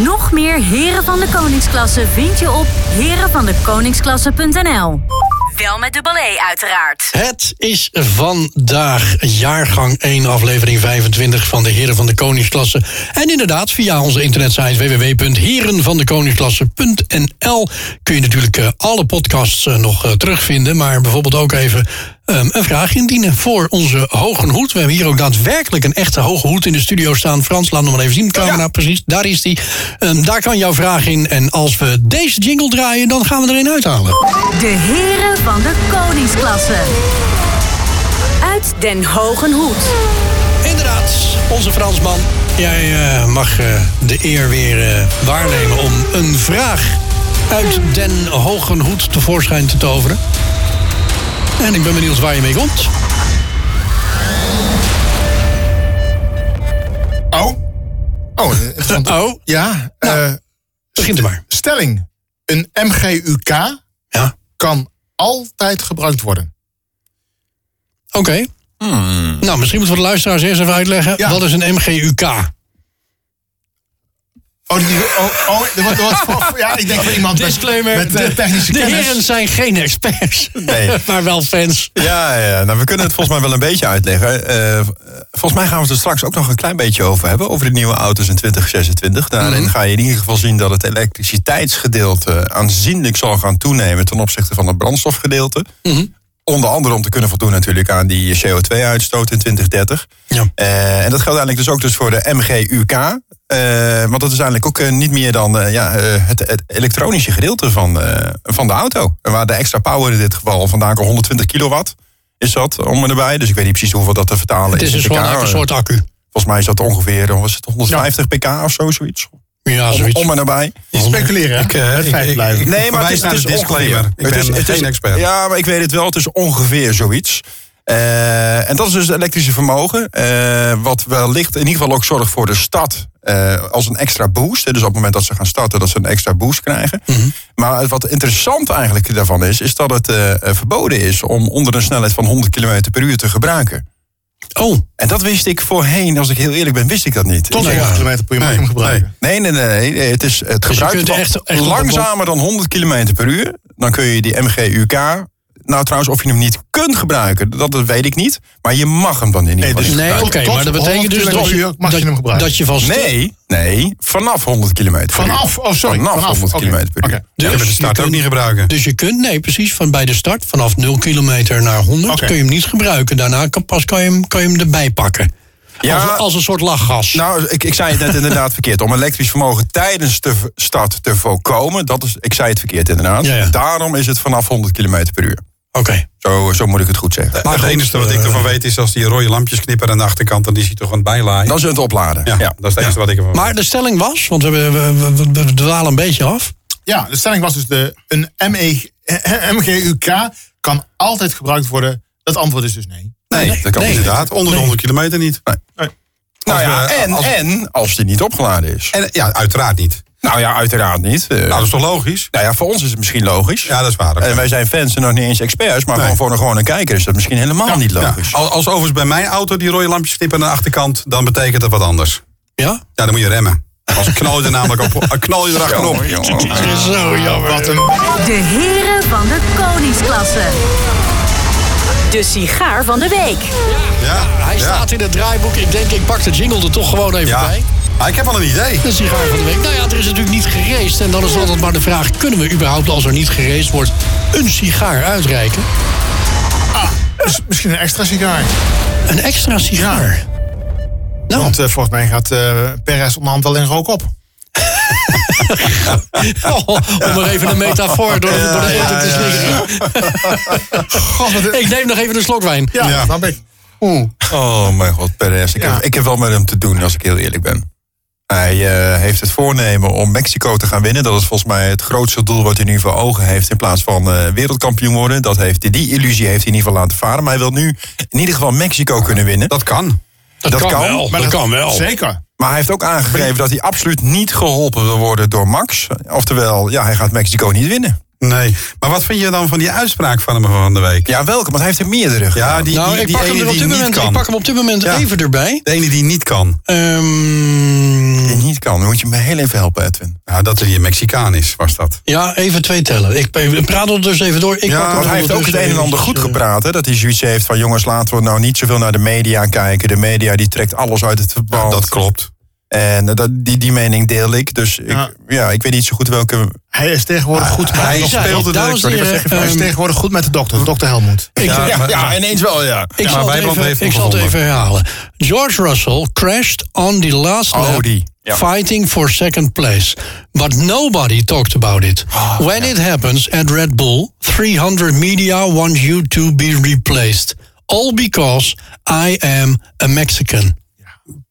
Nog meer heren van de koningsklasse vind je op herenvandekoningsklasse.nl. Wel met de ballet uiteraard.
Het is vandaag jaargang 1, aflevering 25 van de Heren van de Koningsklasse. En inderdaad, via onze internetsite www.herenvandekoningsklasse.nl kun je natuurlijk eh, alle podcasts eh, nog eh, terugvinden. Maar bijvoorbeeld ook even ehm, een vraag indienen voor onze hoge hoed. We hebben hier ook daadwerkelijk een echte hoge hoed in de studio staan. Frans, laat hem maar even zien. Camera, precies. Daar is die. Ehm, daar kan jouw vraag in. En als we deze jingle draaien, dan gaan we er een uithalen.
De heren van de koningsklasse. Uit Den Hogen Hoed.
Inderdaad, onze Fransman. Jij eh, mag eh, de eer weer eh, waarnemen om een vraag uit Den Hogen Hoed tevoorschijn te toveren. En ik ben benieuwd waar je mee komt.
Oh. Oh, eh, interessant.
Oh,
Ja. eh,
begint er maar.
stelling. Een MGUK
Ja.
kan altijd gebruikt worden.
Oké. Nou, misschien moeten we de luisteraars eerst even uitleggen.
Hmm. Ja.
Wat is een MGUK?
Oh, die, oh, oh er wordt- er wordt voor- ja, ik denk voor iemand met,
Disclaimer.
met eh,
de-
technische
de
kennis.
heren zijn geen experts,
Nee.
maar wel fans.
Ja, ja, nou, we kunnen het volgens mij wel een beetje uitleggen. Eh, volgens mij gaan we het er straks ook nog een klein beetje over hebben. Over de nieuwe auto's in 2026. Daarin ga je in ieder geval zien dat het elektriciteitsgedeelte aanzienlijk zal gaan toenemen ten opzichte van het brandstofgedeelte. Onder andere om te kunnen voldoen natuurlijk aan die CO2-uitstoot in 2030.
Ja.
Eh, en dat geldt eigenlijk dus ook dus voor de MGUK. Eh, want dat is eigenlijk ook eh, niet meer dan eh, ja, eh, het, het elektronische gedeelte van, eh, van de auto. Waar de extra power in dit geval vandaag al 120 kilowatt is dat om en erbij. Dus ik weet niet precies hoeveel dat te vertalen
Het
is.
is
in
dus
pk.
gewoon eigenlijk een soort accu.
Volgens mij is dat ongeveer eh, was het 150 pk of zo, zoiets.
Ja,
Om,
zoiets.
om en erbij.
Niet speculeren, hè?
Ik, eh,
het feit
ik-
blijven.
ik-
Nee, maar
Verwijs
het is,
naar
het
de
is
disclaimer.
ongeveer.
Ik ben geen expert.
Ja, maar ik weet het wel. Het is ongeveer zoiets. Eh, Eh, en dat is dus het elektrische vermogen. eh, wat wellicht in ieder geval ook zorgt voor de stad eh, als een extra boost. Dus op het moment dat ze gaan starten, dat ze een extra boost krijgen.
Mhm.
Maar het wat interessant eigenlijk daarvan is, is dat het eh, eh, verboden is om onder een snelheid van 100 km per uur te gebruiken.
Oh,
En dat wist ik voorheen, als ik heel eerlijk ben, wist ik dat niet.
Tot
nee.
100 kilometer per uur mag je hem gebruiken.
Nee, nee, nee, nee, Het is het
Dus je
gebruik
kunt
van
echt- echt op de
langzamer dan 100 km per uur. Dan kun je die MGUK. Nou, trouwens, of je hem niet kunt gebruiken, dat, dat weet ik niet. Maar je mag hem dan in ieder geval niet
nee, dus- oké,
gebruiken.
tot
maar dat betekent dus
100
dat,
kilometer per uur mag je
dat-
hem gebruiken.
dat je van stil-
Nee, nee, vanaf 100 km per uur.
Vanaf, oh sorry.
Vanaf, 100
oké,
km per uur. Dus-
oké.
Ja, maar de staat ook niet gebruiken.
Dus je kunt, nee, precies, van bij de start vanaf 0 kilometer naar 100
Oké.
kun je hem niet gebruiken. Daarna kan, pas kan je hem, kan je hem erbij pakken.
Ja.
als, als een soort lachgas.
Nou, ik, ik zei het net inderdaad verkeerd. Om elektrisch vermogen tijdens de v- start te voorkomen, dat is, ik zei het verkeerd inderdaad.
Ja, ja.
Daarom is het vanaf 100 km per uur.
Oké.
Zo, zo moet ik het goed zeggen.
het
goed,
enige wat ik
eh,
ervan weet is als die rode lampjes knipperen aan de achterkant, dan is hij toch aan het bijlaaien.
Dan zullen we het opladen.
ja, dat is het enige wat ik ervan
Maar de stelling was, want we, we, we, we- we dwalen een beetje af.
Ja, de stelling was dus de, een E ME, MGUK kan altijd gebruikt worden. Dat antwoord is dus nee.
Nee, dat kan
nee.
inderdaad.
Inderdaad, onder de 100 kilometer niet.
Nou
Als
ja,
we-
en,
als-
en als die niet opgeladen is.
En ja, uiteraard niet.
nou ja, uiteraard niet. Eh,
Nou, dat is toch logisch?
nou ja, voor ons is het misschien logisch.
Ja, dat is waar.
En wij zijn fans en nog niet eens experts, maar
Nee.
gewoon voor een gewone kijker is dat misschien helemaal niet
Ja,
logisch.
Als, als overigens bij mijn auto die rode lampjes knippen aan de achterkant, dan betekent dat wat anders.
Ja?
Ja, dan moet je remmen. Als knal je er namelijk op, knal je er achterop.
Zo jammer.
Wat een
De heren van de koningsklasse. De sigaar van de week.
Ja,
Hij
ja.
staat in het draaiboek. Ik denk, ik pak de jingle er toch gewoon even
Ja.
bij.
Ah, ik heb al een idee.
De sigaar van de week. Nou ja, er is natuurlijk niet gereest. En dan is altijd maar de vraag, kunnen we überhaupt, als er niet gereest wordt, een sigaar uitreiken?
Dus misschien een extra sigaar.
Een extra sigaar. Nou,
Want eh, volgens mij gaat eh Perez onderhand wel in rook op.
Oh, om maar even een metafoor door de, door de eten te slikken.
God, wat een-
Ik neem nog even een slok wijn.
ja,
Ja.
snap ik. Oeh.
Oh mijn god, Perez. Ik,
Ja.
heb, ik heb wel met hem te doen, als ik heel eerlijk ben. Hij eh, heeft het voornemen om Mexico te gaan winnen. Dat is volgens mij het grootste doel wat hij nu voor ogen heeft. In plaats van eh, wereldkampioen worden. Dat heeft, hij- die illusie heeft hij in ieder geval laten varen. Maar hij wil nu in ieder geval Mexico kunnen winnen.
Dat kan.
Dat,
kan
wel.
wel,
Dat, kan wel.
Zeker.
Maar hij heeft ook aangegeven dat hij absoluut niet geholpen wil worden door Max. Oftewel, ja, hij gaat Mexico niet winnen.
Nee. Maar wat vind je dan van die uitspraak van hem van de week?
Ja, welke? Want hij heeft er meerdere
Ja, die,
Nou,
die,
ik
die
pak, hem
ene
er op
die
dit
niet
moment,
kan.
ik pak hem op dit moment
Ja.
even erbij.
De ene die niet kan.
Die
Ehm,
niet kan. Dan moet je me heel even helpen, Edwin.
Ja, dat hij een Mexicaan is, was dat.
ja, even twee tellen. Ik ik praat er dus even door. Ik pak hem
want hij heeft ook het
ondertussen
een en ander
eventjes,
goed
eh,
gepraat. Hè? Dat hij zoiets heeft van jongens, laten we nou niet zoveel naar de media kijken. De media die trekt alles uit het verband.
Dat klopt.
En eh, dat, die, die mening deel ik. Dus ik, ja.
Ja.
ik weet niet zo goed welke...
Hij is tegenwoordig goed. Hij,
hij
is,
zei-
speelde de-
dames en
ik wil
heren,
hij is
ehm,
tegenwoordig goed met de dokter, dokter Helmoet.
ik-
Ja, maar- maar-
ineens wel, ja.
Ik
Ja,
zal het
Wijnand heeft
even-
hem
ik zal het even
gevonden.
herhalen. George Russell crashed on the last
Oh,
lap
die. Ja.
fighting for second place. But nobody talked about it.
Ah,
When it happens at Red Bull, 300 media want you to be replaced. All because I am a Mexican.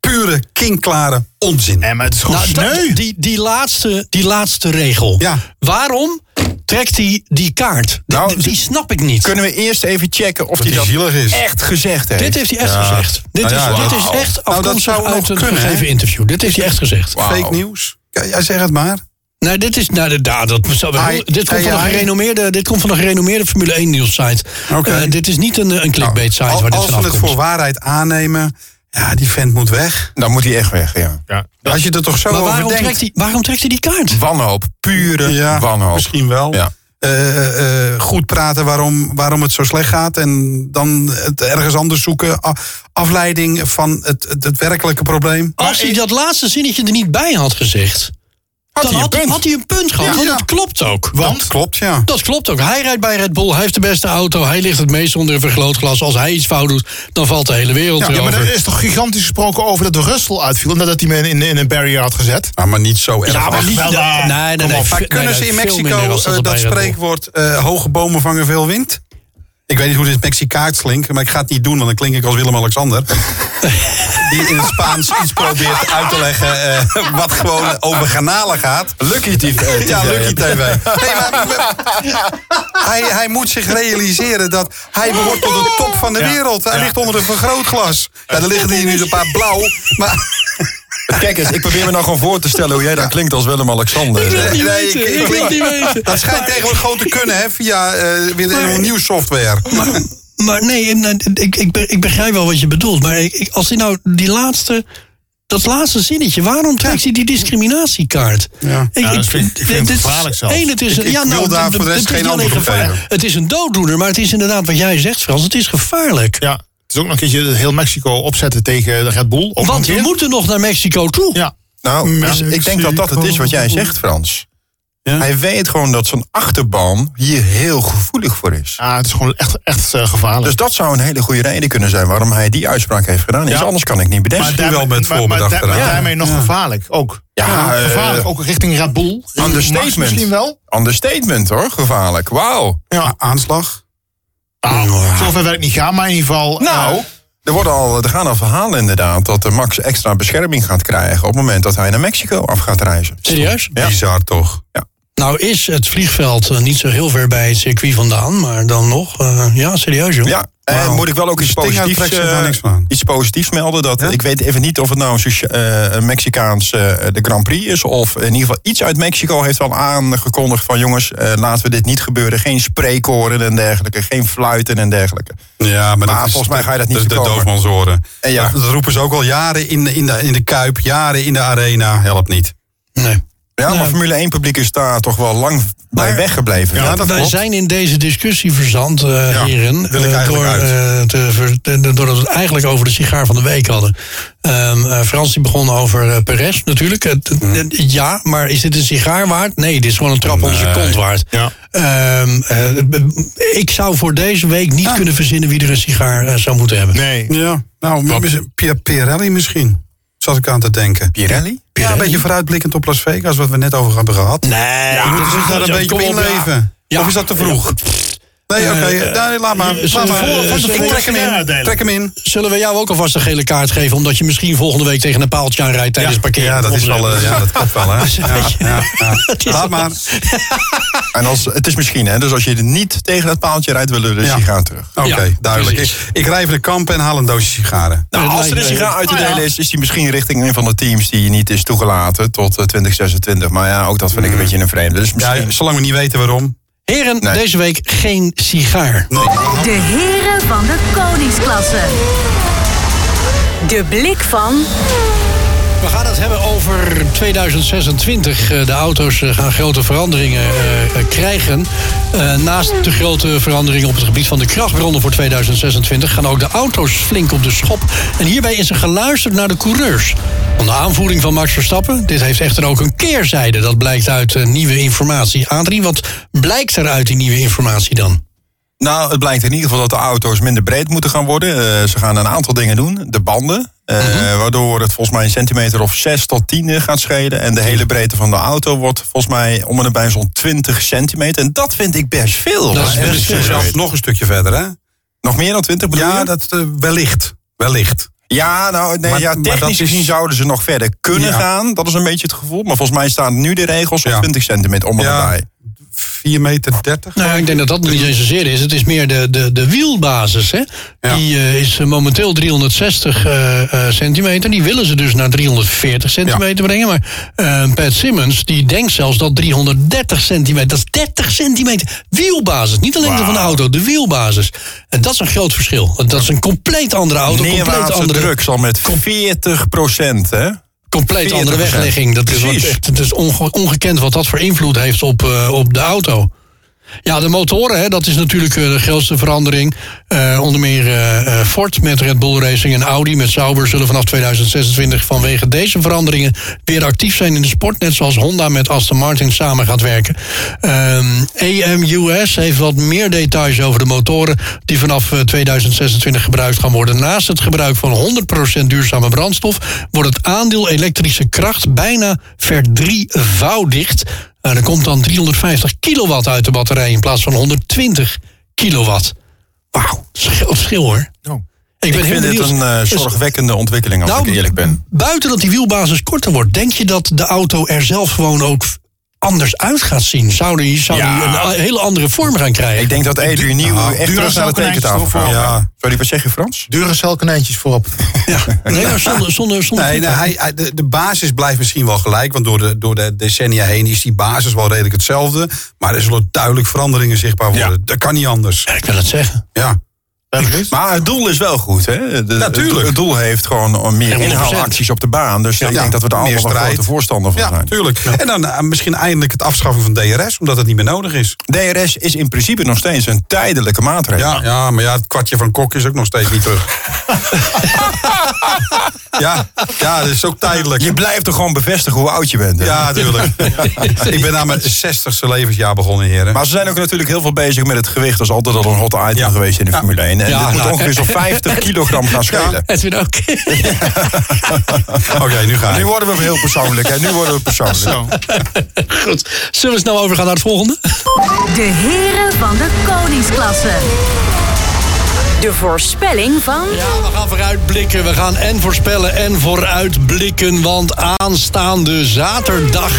Pure, kinkklare onzin.
Nee, maar het is gewoon
Nou, dat-
sneu.
die, die, laatste, die laatste regel.
Ja.
Waarom trekt hij die kaart? Die-
Nou,
die, die snap ik niet.
Kunnen we eerst even checken of hij
die
dat
zielig is.
echt gezegd heeft?
Dit heeft hij echt gezegd. Dit,
Nou ja,
is, dit is
wauw.
echt
Nou, dat
afkomstig
zou
uit
nog
een
kunnen, hè?
gegeven interview. Dit heeft hij echt gezegd.
Fake nieuws. Ja, ja, zeg het maar.
Nou, dit is. Nou, dit- nou, dat zou wel-
Hij-
dit, komt
hij-
van een
hij-
gerenommeerde, dit komt van een gerenommeerde Formule 1 nieuws site.
Oké. Nou,
Eh, dit is niet een, een clickbait site
Al-
waar dit
als we
vanaf
het voor
komt.
waarheid aannemen, ja, die vent moet weg.
Dan moet hij echt weg, ja.
Ja.
Als je er toch zo
Maar
over
waarom
denkt.
trekt, hij, waarom trekt hij die kaart?
Wanhoop, pure
ja,
wanhoop.
Misschien wel.
Ja.
Eh, eh, eh, goed praten waarom, waarom het zo slecht gaat. En dan het ergens anders zoeken. A- afleiding van het, het, het werkelijke probleem.
Als hij dat laatste zinnetje er niet bij had gezegd, dan
hij een
had, hij-
punt.
had hij een punt gehad.
Ja,
want
ja.
dat klopt ook.
Dat klopt, ja.
Dat klopt ook. Hij rijdt bij Red Bull, hij heeft de beste auto, hij ligt het meest onder een vergrootglas. Als hij iets fout doet, dan valt de hele wereld
Ja, maar
erover.
er is toch gigantisch gesproken over dat Russell uitviel... en dat hij me in, in een barrier had gezet.
Ja, Ah, maar niet zo erg.
Ja, Ah, maar niet.
Wel,
Nee,
daar.
nee, nee.
maar
veel-
kunnen
nee,
ze in
veel minder
Mexico
was
eh,
er bij
dat
Red Bull.
spreekwoord eh, hoge bomen vangen veel wind? Ik weet niet hoe dit Mexicaans klinkt, maar ik ga het niet doen, want dan klink ik als Willem-Alexander. die in het Spaans iets probeert uit te leggen eh, wat gewoon over garnalen gaat. Eh,
Lucky TV.
Ja, Lucky TV. Nee, maar, hij, hij moet zich realiseren dat hij behoort tot de top van de wereld. Hij ligt onder een vergrootglas. Ja, er liggen hier nu een paar blauw. Maar
Kijk eens, ik probeer me nou gewoon voor te stellen hoe jij dan klinkt als Willem-Alexander. Eh,
niet
nee,
weten,
ik-
ik,
ik-
wil het niet weten.
dat schijnt tegenwoordig gewoon te kunnen, hè? Via eh, weer een nieuw software.
Maar nee, en, eh, ik, ik, be- ik begrijp wel wat je bedoelt. Maar ik, ik- als hij nou die laatste. Dat laatste zinnetje, waarom trekt hij die discriminatiekaart?
Ja.
Ik,
Ja, dat vind- ik
dit-
vind het
dit is-
gevaarlijk zelfs.
één, het is,
Ik- ik
ja, nou,
wil daar
d- d-
voor de rest
het is
geen
niet alleen
antwoord op
gevaar-
geven.
Het is een dooddoener, maar het is inderdaad wat jij zegt, Frans. Het is gevaarlijk.
Ja, het is ook nog een keertje heel Mexico opzetten tegen de Red Bull. Ook nog een
Want we
keer.
moeten nog naar Mexico toe.
Ja.
Nou, dus
Mexico.
ik denk dat dat het is wat jij zegt, Frans.
Ja.
Hij weet gewoon dat zijn achterban hier heel gevoelig voor is.
ja, Ah, het is gewoon echt, echt eh, gevaarlijk.
Dus dat zou een hele goede reden kunnen zijn waarom hij die uitspraak heeft gedaan. Iets
Ja.
anders kan ik niet bedenken.
daar- wel met
maar-
voorbedacht
maar, daar-
eraan.
maar daarmee nog gevaarlijk ook.
Ja, eh,
gevaarlijk. Ook richting Red Bull. Richting Max
Understatement.
misschien wel.
Understatement hoor, gevaarlijk. Wauw.
Ja, aanslag.
Nou, zover wil ik niet gaan, maar in ieder geval...
Nou,
eh,
er, worden al, er gaan al verhalen inderdaad dat de Max extra bescherming gaat krijgen op het moment dat hij naar Mexico af gaat reizen.
Serieus?
Bizar toch?
Nou is het vliegveld eh, niet zo heel ver bij het circuit vandaan, maar dan nog. eh, ja, serieus joh.
Ja, en
Wauw.
moet ik wel ook iets
Sting
positiefs,
uittrekken,
eh,
daar niks van aan.
iets positiefs melden. Dat, Ik weet even niet of het nou een socia- eh, een Mexicaans eh, de Grand Prix is. Of in ieder geval iets uit Mexico heeft al aangekondigd van... jongens, eh, laten we dit niet gebeuren. Geen spreekoren en dergelijke. Geen fluiten en dergelijke.
Ja, maar,
Maar volgens mij ga je dat niet
De, de
voorkomen.
doofmansoren.
En ja.
Dat, dat roepen ze ook al jaren in de, in, de, in de kuip, jaren in de arena. Helpt niet.
Nee.
Ja, maar Formule 1 publiek is daar toch wel lang bij weggebleven. Ja,
dat
Wij
klopt.
zijn in deze discussie verzand, eh heren.
wil ik
eh,
eigenlijk
door,
uit.
eh, te ver- de- de- doordat we het eigenlijk over de sigaar van de week hadden. Ehm eh, Frans die begon over eh, Perez natuurlijk. Het- het- het- ja, maar is dit een sigaar waard? Nee, dit is gewoon een trap onder zijn kont waard.
Ja.
Ehm, eh, b- ik zou voor deze week niet kunnen verzinnen wie er een sigaar eh, zou moeten hebben.
nee.
Ja, nou, misschien- Pia- Pirelli misschien. Zat ik aan te denken.
Pirelli?
Ja, een beetje vooruitblikkend op Las Vegas, wat we net over hebben gehad.
Nee,
Je moet zich daar een beetje op inleven.
Ja.
Of is dat te vroeg? Nee, oké, nee, laat maar.
eh,
Laat maar.
eh,
Van tevoren,
eh,
Trek hem
eh,
in. Trek hem in.
Zullen we jou ook alvast een gele kaart geven... omdat je misschien volgende week tegen een paaltje aanrijdt tijdens parkeren?
Ja, dat is wel, eh, ja, dat klopt wel, hè. Ja, ja, ja. Laat maar.
En als, het is misschien, hè. Dus als je er niet tegen dat paaltje rijdt, willen we de
Ja.
sigaar terug.
Oké,
Ja,
duidelijk.
precies.
Ik, ik rij even de kamp en haal een doosje sigaren.
Nou,
Nee,
als er een
lijkt me-
sigaar uit te
Nou
delen is, is die misschien richting een van de teams die niet is toegelaten tot eh, 2026. Maar ja, ook dat vind ik een beetje een vreemde. Dus misschien...
Mm. Ja, zolang we niet weten waarom.
Heren, deze week geen sigaar.
De heren van de koningsklasse. De blik van
We gaan het hebben over 2026. Eh, De auto's eh, gaan grote veranderingen eh, eh, krijgen. Eh, Naast de grote veranderingen op het gebied van de krachtbronnen voor 2026 gaan ook de auto's flink op de schop. En hierbij is er geluisterd naar de coureurs. Van de aanvoering van Max Verstappen. Dit heeft echter ook een keerzijde. Dat blijkt uit eh, nieuwe informatie. Adrie, wat blijkt er uit die nieuwe informatie dan?
Nou, het blijkt in ieder geval dat de auto's minder breed moeten gaan worden. Eh, ze gaan een aantal dingen doen. De banden, eh,
Mhm.
waardoor het volgens mij een centimeter of 6 tot 10 eh, gaat schelen. En de
Mhm.
hele breedte van de auto wordt volgens mij om en nabij zo'n 20 centimeter. En dat vind ik best veel.
Dat is
hoor.
best
En
veel.
dus
Zelfs
zelfs nog,
nog een stukje verder, hè?
nog meer dan 20 bedoel
Ja,
je?
dat eh, wellicht. Wellicht.
Ja, nou, nee,
Maar-
ja,
maar
technisch
dat is-
gezien zouden ze nog verder kunnen
Ja.
gaan. Dat is een beetje het gevoel. Maar volgens mij staan nu de regels op
Ja.
20 centimeter om en
Ja.
nabij.
4 meter 30.
Nou, ja, ik denk dat dat nog niet eens zozeer is. Het is meer de, de, de wielbasis. Hè?
Ja.
Die eh, is eh, momenteel 360 eh, eh, centimeter. Die willen ze dus naar 340 centimeter brengen. Maar eh, Pat Simmons die denkt zelfs dat 330 centimeter... dat is 30 centimeter wielbasis. Niet alleen de van de auto, de wielbasis. En dat is een groot verschil. Want Dat is een compleet andere auto, compleet
Neerwaartse
andere,
druk zal met 40 procent, hè?
compleet andere
40%.
weglegging. Dat is, wat,
Precies.
echt, het is onge- ongekend wat dat voor invloed heeft op, eh, op de auto. Ja, de motoren, hè, dat is natuurlijk eh, de grootste verandering. Eh, onder meer eh, eh, Ford met Red Bull Racing en Audi met Sauber zullen vanaf 2026 vanwege deze veranderingen weer actief zijn in de sport. Net zoals Honda met Aston Martin samen gaat werken. Ehm AMUS heeft wat meer details over de motoren die vanaf eh, 2026 gebruikt gaan worden. Naast het gebruik van 100% duurzame brandstof wordt het aandeel elektrische kracht bijna verdrievoudigd. En er komt dan 350 kilowatt uit de batterij in plaats van 120 kilowatt. Wauw, schil, schil hoor.
Nou,
Ik,
Oh. Ik
ben heel
vind dit
benieuwd.
een eh,
Dus
zorgwekkende ontwikkeling, als ik eerlijk ben.
Buiten dat die wielbasis korter wordt, denk je dat de auto er zelf gewoon ook anders uit gaat zien? Zou die, zou
Ja.
die een a- hele andere vorm gaan krijgen?
Ik denk dat Adrian Nieuw echt terug naar de
Duracell
tekentafel
konijntjes
gaat.
erop, ja.
Ja. Sorry, wat zeg je Frans?
Duracell konijntjes voorop.
ja. Nee, maar zonder, zonder, zonder
Nee, nee, hij, hij- de, de basis blijft misschien wel gelijk. Want door de, door de decennia heen is die basis wel redelijk hetzelfde. Maar er zullen duidelijk veranderingen zichtbaar worden. Dat kan niet anders.
nou.
Ja, ik wil het zeggen.
Ja.
Duidelijk is?
Maar het doel is wel goed, hè? De-
Natuurlijk.
Het doel heeft gewoon meer
100%.
inhaalacties op de baan. Dus ik
Ja,
denk dat we daar
meer
allemaal wel
strijd.
grote voorstander van
Ja,
zijn.
tuurlijk. En dan eh, misschien eindelijk het afschaffen van DRS, omdat het niet meer nodig is.
DRS is in principe nog steeds een tijdelijke maatregel.
Ja, ja maar ja, het kwartje van Kok is ook nog steeds niet terug. ja, ja, dat is ook tijdelijk.
Je blijft er gewoon bevestigen hoe oud je bent. hè?
Ja, tuurlijk. Ik ben aan mijn 60ste levensjaar begonnen, heren.
Maar ze zijn ook natuurlijk heel veel bezig met het gewicht. Dat is altijd al een hot item
Ja.
geweest in de
Ja.
Formule 1. En
Ja,
dit moet
nou,
ongeveer zo'n 50 kilogram gaan schelen.
Edwin ook.
Oké, nu ga
Nu
ik.
worden we heel persoonlijk. En nu worden we persoonlijk.
Goed. Zullen we snel overgaan naar het volgende?
De heren van de koningsklasse. De voorspelling van
Ja, we gaan vooruitblikken. We gaan en voorspellen en vooruitblikken. Want aanstaande zaterdag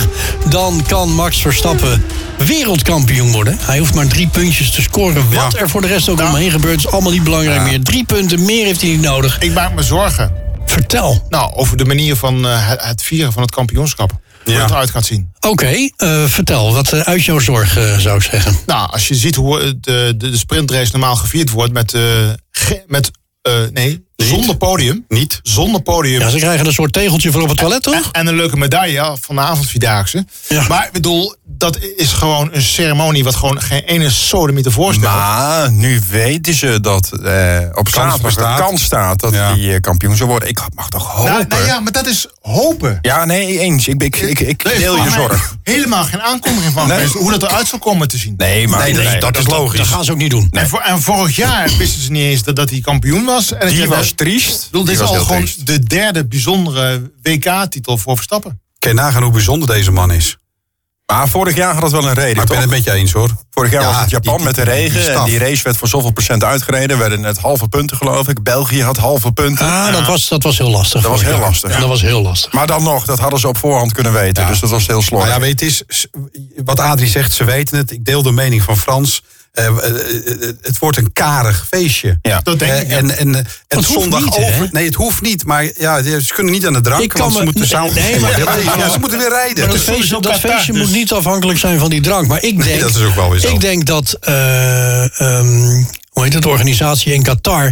dan kan Max Verstappen wereldkampioen worden. Hij hoeft maar drie puntjes te scoren. Wat
Ja.
er voor de rest ook omheen gebeurt is allemaal niet belangrijk meer. Drie punten meer heeft hij niet nodig.
Ik maak me zorgen.
Vertel.
Nou, over de manier van eh, het- het vieren van het kampioenschap. Hoe
Ja.
het eruit gaat zien.
Oké, eh, vertel. Wat eh, uit jouw zorg eh, zou ik zeggen.
Nou, als je ziet hoe eh, de, de, de sprintrace normaal gevierd wordt met... eh, ge- met eh, nee, zonder podium.
Niet.
Zonder podium.
Ja, ze krijgen een soort tegeltje voor op het toilet, toch?
En een leuke medaille van de avondvierdaagse.
Ja.
Maar ik bedoel, dat is gewoon een ceremonie... wat gewoon geen ene sodemieter voorstelt.
Maar nu weten ze dat eh, op zaterdag
bestaat.
de kans staat dat
Ja.
die eh, kampioen zou worden. Ik mag toch hopen.
nou, nou ja, maar dat is hopen.
Ja, nee, eens. Ik, ik, ik, ik
Er is
deel je
volgens mij
zorg.
Helemaal geen aankondiging van
Nee.
geweest hoe dat eruit zou komen te zien.
Nee, maar
Nee, dat is- dat is
Dat
logisch.
gaan ze ook niet doen.
En, voor- en vorig jaar wisten ze niet eens dat, dat hij kampioen was. En het-
Die
en-
was
Ik
triest.
bedoel,
Die
dit is
was
al
heel
gewoon
triest.
de derde bijzondere WK-titel voor Verstappen.
Kan je nagaan hoe bijzonder deze man is.
Maar vorig jaar had dat wel een reden,
Maar ik
toch?
ben het met je eens, hoor.
Vorig jaar
Ja,
was het Japan
die- die-
met de
die- die
regen. en
staf.
die race werd voor zoveel procent uitgereden. Werden net halve punten, geloof ik. België had halve punten.
Ah, dat was, dat was heel lastig.
Dat was
vorig
heel
jaar.
lastig.
Dat was heel lastig.
Maar dan nog, dat hadden ze op voorhand kunnen weten. Dus dat was heel slordig.
Nou ja, weet je, het is, wat Adrie zegt, ze weten het. Ik deel de mening van Frans. Eh, eh, eh, het wordt een karig feestje.
Ja.
Dat denk
Eh,
ik.
En, en, eh, en
hoeft
zondag
niet, hè?
over. Nee, het hoeft niet. Maar ja, ze kunnen niet aan de drank.
Ik kan
want ze
me-
moeten
nee,
zaal-
nee, maar-
Ja, ja, ze moeten weer rijden.
Maar dat
Dus-
feestje, dat
Qatar,
feestje
dus-
moet niet afhankelijk zijn van die drank. Maar ik denk,
dat is ook wel weer zo.
Ik denk dat, eh, ehm, hoe heet het, de organisatie in Qatar...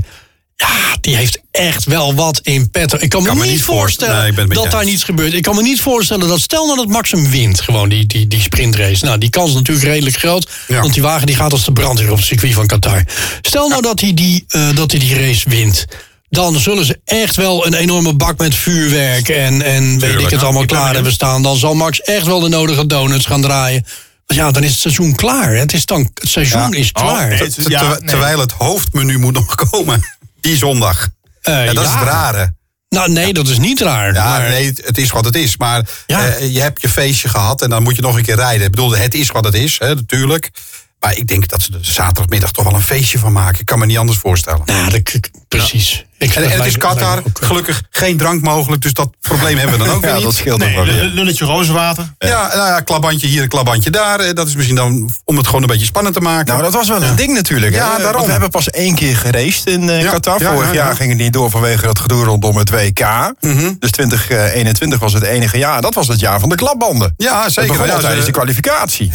Ja, die heeft echt wel wat in petto. Ik kan me,
Kan me
niet
niet voor-
voorstellen
Nee, ik ben het met
dat
je
daar
eens.
niets gebeurt. Ik kan me niet voorstellen dat stel nou dat Maxim wint, gewoon die, die, die sprintrace. Nou, die kans is natuurlijk redelijk groot,
Ja.
want die wagen die gaat als de brandweer op het circuit van Qatar. Stel nou dat hij die, eh, dat hij die race wint. Dan zullen ze echt wel een enorme bak met vuurwerk en, en weet ik
Tuurlijk,
het
ja.
allemaal
Ik ben
klaar hebben staan. Dan zal Max echt wel de nodige donuts gaan draaien. Maar ja, dan is het seizoen klaar. hè. Het, is dan, het seizoen is
Oh,
klaar.
nee.
Eh,
Het
Te-
is- ja,
ter-
nee.
Terwijl het hoofdmenu moet nog komen. Die zondag. Ja, dat is
Eh, ja.
het rare.
Nou, nee, dat is niet raar.
Ja,
maar-
Ah, nee, het- het is wat het is. Maar
Ja.
eh, je hebt je feestje gehad en dan moet je nog een keer rijden. Ik bedoel, het is wat het is, hè, natuurlijk. Maar ik denk dat ze er zaterdagmiddag toch wel een feestje van maken. Ik kan me niet anders voorstellen.
Nou, dat, ik- precies. Ik,
En,
dat
en het
lijkt-
is
dat lijkt
Qatar,
me ook, eh,
gelukkig geen drank mogelijk. Dus dat probleem hebben we dan ook weer
Oh, Ja,
niet.
dat scheelt ook
Nee,
wel weer.
l- lulletje rozenwater.
Ja, nou ja, klabandje hier, een klabandje daar. Eh, Dat is misschien dan om het gewoon een beetje spannend te maken.
Nou, dat was wel een ding natuurlijk. hè.
Ja,
Want
daarom.
We hebben pas één keer geraced in eh,
Ja,
Qatar.
ja,
Vorig
ja, Mhm.
jaar
ja.
ging het niet door vanwege dat gedoe rondom het WK. Dus 2021 was het enige jaar. Dat was het jaar van de klapbanden.
ja, dus,
Dat
zeker.
begon
Ja,
al
ze-
tijdens de kwalificatie.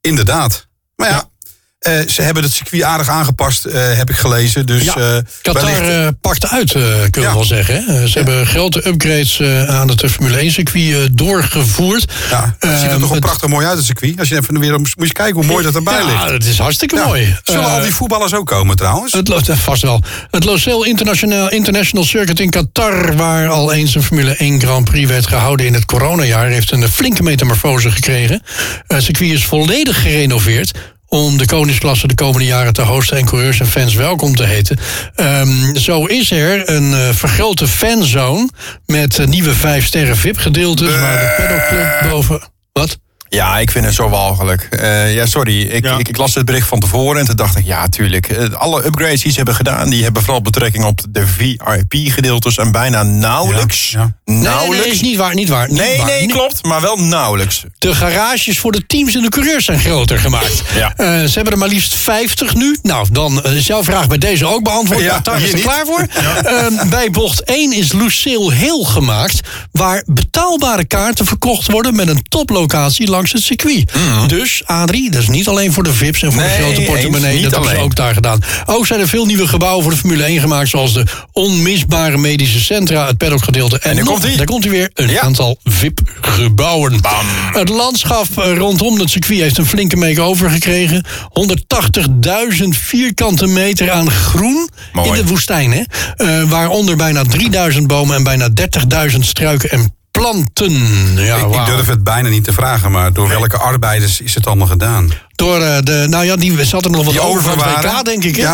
Inderdaad. Maar ja, eh, ze hebben het circuit aardig aangepast, eh, heb ik gelezen. Dus
Ja,
eh,
Qatar
wellicht-
eh, pakte uit, eh, kunnen we
Ja.
wel zeggen. hè. Eh, Ze hebben grote upgrades eh, aan het eh, Formule 1 circuit eh, doorgevoerd.
Ja, het ziet er
Ehm,
toch wel
het-
prachtig mooi uit, het circuit. Als je even weer moest moest kijken hoe mooi dat erbij
Ja,
ligt.
het is hartstikke mooi.
Zullen
Eh,
al die voetballers ook komen trouwens?
het loopt eh, vast wel. Het Losail International, International Circuit in Qatar, waar al eens een Formule 1 Grand Prix werd gehouden in het coronajaar, heeft een eh, flinke metamorfose gekregen. Het circuit is volledig gerenoveerd om de koningsklasse de komende jaren te hosten en coureurs en fans welkom te heten. Ehm, zo is er een eh, vergrote fanzone met eh, nieuwe vijf sterren VIP gedeeltes, waar de paddockclub boven... Wat?
Ja, ik vind het zo walgelijk. Eh, ja, sorry. Ik,
Ja.
Ik, ik las het bericht van tevoren en toen dacht ik, ja, tuurlijk. Eh, alle upgrades die ze hebben gedaan, die hebben vooral betrekking op de VIP-gedeeltes en bijna nauwelijks.
Ja, ja.
Nee, nee,
Nauwelijks.
nee, is niet waar, niet waar. niet
Nee,
waar,
nee,
niet-
klopt, maar wel nauwelijks.
De garages voor de teams en de coureurs zijn groter gemaakt.
Ja.
Eh, ze hebben er maar liefst 50 nu. Nou, dan eh, is jouw vraag bij deze ook beantwoord.
Ja,
Ja, Daar
hier
is er
niet.
klaar voor. Ehm, bij bocht 1 is Lucille Hill gemaakt... waar betaalbare kaarten verkocht worden... met een toplocatie langs het circuit. Dus, Adrie, dat is niet alleen voor de VIP's en voor
Mm. Nee,
de grote portemonnee.
eens, niet
dat hebben ze
alleen.
ook daar gedaan. Ook zijn er veel nieuwe gebouwen voor de Formule 1 gemaakt... zoals de onmisbare medische centra, het paddockgedeelte... en,
daar
nog-
komt-ie.
daar komt hij weer, een
Ja.
aantal VIP-gebouwen. Het landschap eh, rondom het circuit heeft een flinke make-over gekregen. 180.000 vierkante meter aan groen
Mooi.
in de woestijn. Hè? Eh, waaronder bijna 3000 bomen en bijna 30.000 struiken en planten. Ja,
Ik, ik
Oh, wauw.
durf het bijna niet te vragen, maar door welke arbeiders is het allemaal gedaan?
Door eh, de, nou ja, die zat er nog wat
Die
over van het
overwaren.
WK, denk ik. Hè?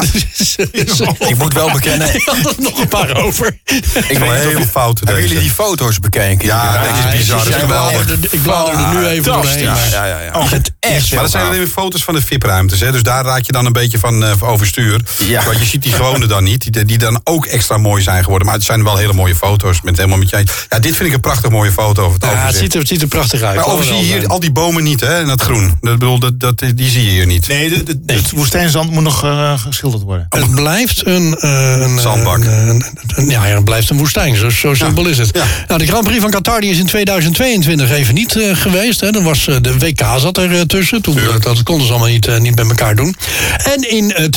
Ja.
Ik moet wel bekennen.
Die had er nog een paar over.
Ik
wel
weet niet of-
heel fout,
Hebben
deze.
jullie die foto's bekeken?
Ja,
Die-
dat
Ja,
Ah,
is
die
bizar,
zijn
dat is
wel
geweldig.
echt
Ik bladerde er nu even
fantastisch.
doorheen, maar-
Ja, ja, ja.
Oh,
het echt
Maar dat zijn alleen weer foto's van de VIP-ruimtes. Hè? Dus daar raak je dan een beetje van eh, overstuur.
Ja.
Want je ziet die gewone dan niet. Die, die dan ook extra mooi zijn geworden. Maar het zijn wel hele mooie foto's. Met helemaal met jij. Ja, dit vind ik een prachtig mooie foto. Over het
Ja, het
overzicht.
ziet er, het ziet er prachtig uit. eh,
maar
Kan
overigens
wel
zie je hier
zijn.
al die bomen niet, hè? En dat groen. Dat, bedoel, dat, dat, die zie je hier niet.
Nee, de- de- het woestijnzand moet nog eh, geschilderd worden.
Het blijft een... eh, een
Zandbak.
een- een- een- ja, ja, het blijft een woestijn. Zo, zo simpel is het. Nou, de Grand Prix van Qatar die is in 2022 even niet eh, geweest. Hè. Dan was, eh, de WK zat er eh, tussen. Toen, dat, dat konden ze allemaal niet, eh, niet met elkaar doen. En in eh,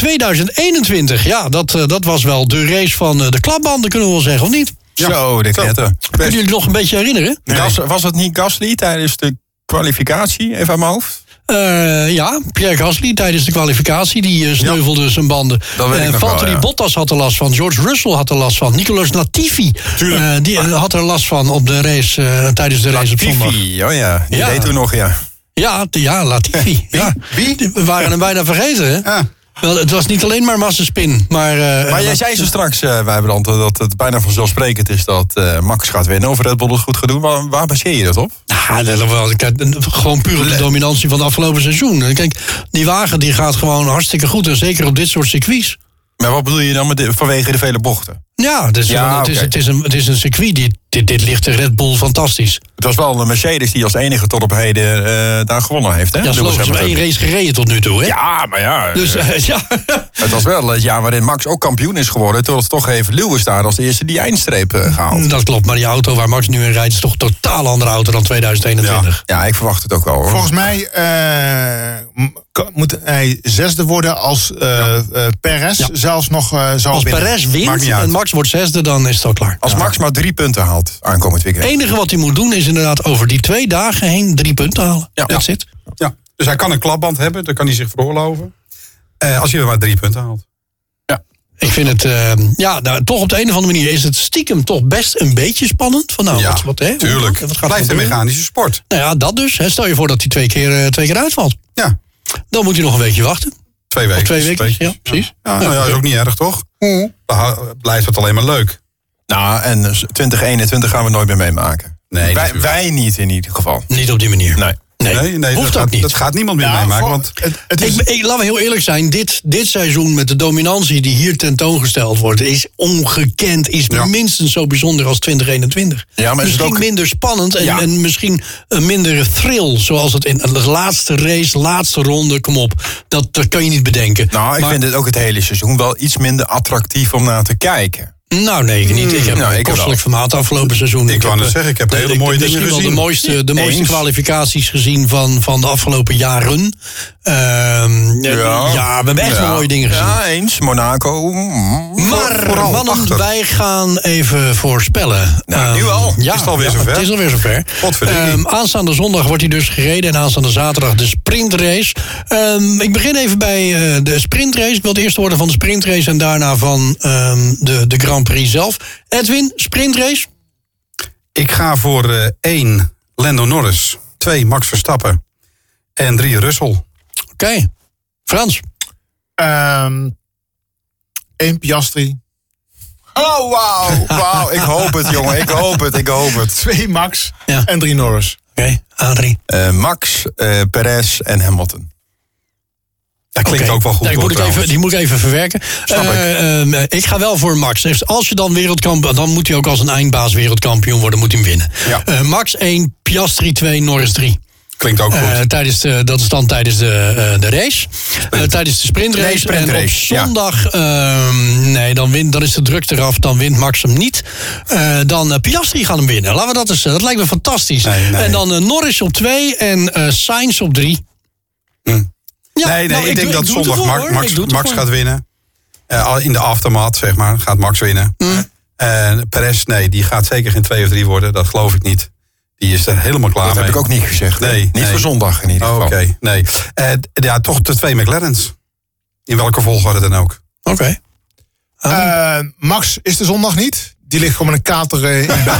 2021, ja, dat, eh, dat was wel de race van eh, de klapbanden, kunnen we wel zeggen, of niet?
Zo, dit
Zo.
netten.
Kunnen jullie nog een beetje herinneren?
Gas- was het niet Gasly tijdens de kwalificatie, even aan mijn hoofd?
Eh, ja, Pierre Gasly tijdens de kwalificatie. Die eh, sneuvelde zijn banden.
Dat weet ik
Eh,
nog wel,
Valtteri
ja.
Bottas had er last van. George Russell had er last van. Nicolas Latifi eh, die, eh, had er last van op de race, eh, tijdens de race op zondag.
Latifi, oh ja. Die
Ja.
deed toen nog, ja.
Ja, t- ja Latifi. ja.
Wie?
We waren hem bijna vergeten. Hè?
Ja.
Wel, het was niet alleen maar massaspin. Maar, eh,
Maar jij zei zo straks, eh Wijbrand, dat het bijna vanzelfsprekend is dat eh, Max gaat winnen of Red Bull het goed gaat doen. Waar, waar baseer je dat op?
Nou, dat wel. Kijk, gewoon puur op de dominantie van het afgelopen seizoen. Kijk, die wagen die gaat gewoon hartstikke goed. En zeker op dit soort circuits.
Maar wat bedoel je dan met de- vanwege de vele bochten?
Ja, het is,
Ja,
het, is,
oké.
het, is een, het is een circuit. Dit, dit, dit ligt de Red Bull fantastisch.
Het was wel de Mercedes die als enige tot op heden eh, daar gewonnen heeft. Hè?
Ja, ze
Lewis
hebben
Hamilton.
één race gereden tot nu toe, hè?
ja maar ja.
Dus eh, ja.
Het was wel het jaar waarin Max ook kampioen is geworden. Terwijl het toch even Lewis daar als de eerste die eindstreep eh, gehaald.
dat klopt. Maar die auto waar Max nu in rijdt is toch een totaal andere auto dan 2021.
Ja, ik verwacht het ook wel hoor.
Volgens mij eh, m- kan- moet hij zesde worden als eh eh, Perez zelfs nog eh zou
Als
winnen.
Perez
Maakt
wint
niet uit.
en Max wordt zesde, dan is het al klaar.
Als Max maar drie punten haalt aankomend weekend.
Het enige wat hij moet doen is inderdaad over die twee dagen heen drie punten halen.
Ja.
Dat zit.
Ja. Dus hij kan een klapband hebben. Dan kan hij zich veroorloven. Eh, als hij er maar drie punten haalt.
Ik vind het, eh, ja, nou, toch op de een of andere manier is het stiekem toch best een beetje spannend. Van nou,
ja,
wat, wat, hè? Hoe-
tuurlijk.
Wat gaat er
Blijft een
gebeuren?
mechanische sport.
Nou ja, dat dus. Hè. Stel je voor dat hij twee keer, eh, twee keer uitvalt.
Ja.
Dan moet hij nog een weekje wachten.
Twee weken.
Of twee weken.
Ja,
Ja, Mm. precies.
nou ja, is ook niet erg, toch? Dan hou- Blijft het alleen maar leuk.
Nou, en eh, 2021 gaan we nooit meer meemaken. wij,
Nee, natuurlijk.
wij niet in ieder geval.
Niet op die manier.
Nee.
Nee,
Nee, nee
hoeft
dat,
ook
gaat,
niet.
dat gaat niemand meer
Ja,
meemaken.
voor-
Want
het, het is,
Ik, ik, laten we heel eerlijk zijn, dit, dit seizoen met de dominantie die hier tentoongesteld wordt, is ongekend, is minstens zo bijzonder als 2021.
Ja, maar is het
misschien
ook-
minder spannend en,
Ja.
en misschien een minder thrill, zoals het in de laatste race, laatste ronde, kom op. Dat, dat kan je niet bedenken.
Nou, ik
Maar-
vind het ook het hele seizoen wel iets minder attractief om naar te kijken.
Nou, nee, ik niet. Ik
Hmm.
heb
nou,
nou,
ik wel.
kostelijk vermaald afgelopen seizoen.
Ik wou
heb,
net
eh,
zeggen, ik heb
de-
hele mooie dingen
misschien
gezien.
wel de mooiste, de mooiste
Eens.
kwalificaties gezien van, van de afgelopen jaren. Ehm, ja, we hebben echt wel
Ja.
mooie dingen gezien.
Ja, eens. Monaco. mm.
Maar
vooral
mannen,
achter.
wij gaan even voorspellen.
Nou,
Ehm,
nu al?
Ja,
Is het alweer
ja,
zover?
Het is alweer zover.
Godverdikkie.
Ehm, aanstaande zondag wordt hij dus gereden en aanstaande zaterdag de sprintrace. Ehm, ik begin even bij eh, de sprintrace. Ik wil het eerst horen van de sprintrace en daarna van ehm, de, de Grand Prix zelf. Edwin, sprintrace?
ik ga voor eh, één Lando Norris, twee Max Verstappen en drie Russell.
Oké. Frans?
ehm, één Piastri,
Oh, wauw. Wauw, ik hoop het, jongen. Ik hoop het, ik hoop het.
twee Max
Ja.
en drie Norris.
Adrie.
Eh, Max, eh, Perez en Hamilton.
Dat klinkt
Oké.
ook wel goed
Nee, ik
hoor,
moet ik even,
trouwens.
die moet ik even verwerken.
Snap ik.
Eh, ehm, ik ga wel voor Max. Dus als je dan wereldkampioen... dan moet hij ook als een eindbaas wereldkampioen worden. Moet hij hem winnen.
Ja.
Eh, Max 1, Piastri 2, Norris 3.
Klinkt ook
Eh,
goed.
tijdens de, dat is dan tijdens de, eh, de race. Eh, tijdens de sprintrace.
Nee, sprintrace,
en op
ja.
zondag, ehm, nee, dan, wint, dan is de druk eraf. Dan wint Max hem niet. Eh, dan eh, Piastri gaan hem winnen. Laten we dat eens. eh, dat lijkt me fantastisch.
Nee, nee.
En dan eh, Norris op 2 en eh Sainz op 3. Ja,
nee, nee,
nou,
ik,
doe-
denk dat
doe het
zondag
ervoor,
Mar-
hoor.
Max,
Ik doe het
Max
ervoor.
gaat winnen. Eh, al in de aftermath, zeg maar, gaat Max winnen.
Mm.
Eh, En Perez, nee, die gaat zeker geen twee of drie worden. Dat geloof ik niet. Die is er helemaal klaar
Dat
mee.
heb ik ook niet gezegd.
Nee,
Niet
nee.
voor zondag in ieder
Oh,
geval.
Oké, nee. Eh, d- ja, toch de twee McLaren's. In welke volgorde dan ook.
Oké. Oh.
Eh, Max is de zondag niet. Die ligt gewoon met een kater eh, in bed.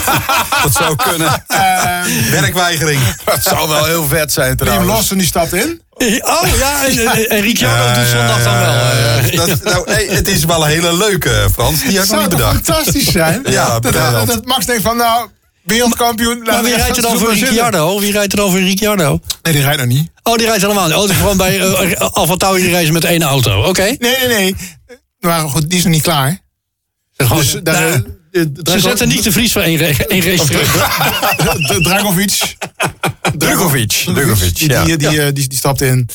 Dat zou kunnen.
Ehm.
Werkweigering.
Dat zou wel heel vet zijn
Nou,
Liam
trouwens.
Lawson die stapt in.
Oh ja, en, en, en Ricciardo
Ja,
doet zondag dan
ja,
wel.
ja,
eh.
ja. Dat- nou, hey, het is wel een hele leuke, eh, Frans. Die had ik
Zou
nog niet
toch
bedacht.
fantastisch zijn?
Ja,
dat,
briljant.
dat, dat Max denkt van, nou, wereldkampioen.
maar wie rijdt er dan voor Ricciardo? Wie rijdt er dan voor Ricciardo?
Nee, die rijdt nog niet.
Oh, die rijdt helemaal niet. Oh, die gewoon bij uh, Alfa Tauri reizen met één auto. Oké.
Nee, nee, nee. Eh, Maar goed, die is nog niet klaar. Dus
Gewoon-
daar,
Nou,
eh, eh,
ze
Drago-
zetten niet de Vries van één, ra- één race terug.
Eh, Dragovic.
Drugovic. Drugovic,
Die,
ja.
die, die, eh, die, die stapt in.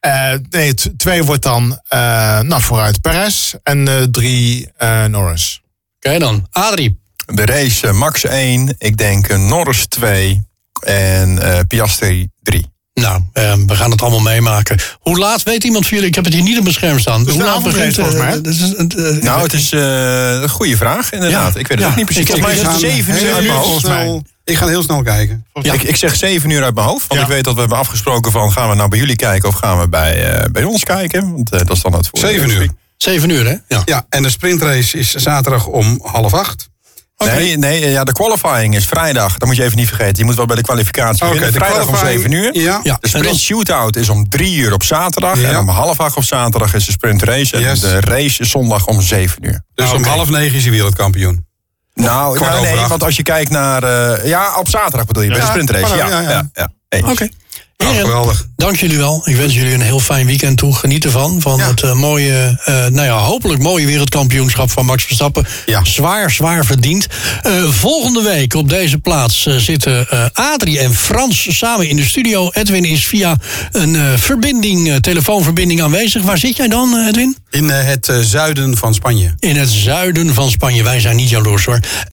Eh, nee, t- twee wordt dan eh nou, vooruit Perez en eh, drie eh, Norris.
Oké dan. Adrie.
De race eh, Max 1, ik denk eh, Norris 2 en eh, Piastri 3.
Nou, eh, we gaan het allemaal meemaken. Hoe laat weet iemand van jullie? Ik heb het hier niet op mijn scherm staan.
is
Hoe
een
laat
avondrace
begint eh,
volgens mij, hè?
dat is- eh, eh,
Nou, het is eh, een goede vraag, inderdaad.
Ja.
Ik weet het
Ja.
ook niet precies.
Ik-
Volgens mij is
ik-
het
ik-
7 uur
Heel
uit mijn
snel-
hoofd.
Ik ga heel snel kijken.
Ja.
Ik, ik zeg 7 uur uit mijn hoofd, want
Ja.
ik weet dat we hebben afgesproken van... gaan we nou bij jullie kijken of gaan we bij, eh, bij ons kijken? Want eh, dat is dan het voordeel.
7 uur.
Zeven uur, hè? Ja.
Ja, en de sprintrace is zaterdag om half acht.
Nee, nee eh, ja, de qualifying is vrijdag. Dat moet je even niet vergeten. Je moet wel bij de kwalificatie
Oké,
beginnen.
de
Vrijdag om
qualifying-
7 uur.
Ja.
Ja.
De
En dan-
sprint shootout is om 3 uur op zaterdag.
Ja.
En om half acht op zaterdag is de sprint race. En
Yes.
de race is zondag om 7 uur.
Dus om half negen is hij wereldkampioen.
Nou,
kwart
nou,
over
nee,
acht.
want als je kijkt naar... eh, ja, op zaterdag bedoel je, bij de sprintrace. Ja,
pardon,
ja,
ja,
ja.
ja.
Eens.
Oké.
Nou,
Heren,
geweldig.
Dank jullie wel. Ik wens jullie een heel fijn weekend toe. Geniet ervan. Van
Ja.
het eh, mooie, eh, nou ja, hopelijk mooie wereldkampioenschap van Max Verstappen.
Ja.
Zwaar, zwaar verdiend. Eh, volgende week op deze plaats eh, zitten eh, Adrie en Frans samen in de studio. Edwin is via een eh, verbinding, eh, telefoonverbinding aanwezig. Waar zit jij dan, eh, Edwin?
In eh, het eh, zuiden van Spanje.
In het zuiden van Spanje. Wij zijn niet jaloers hoor.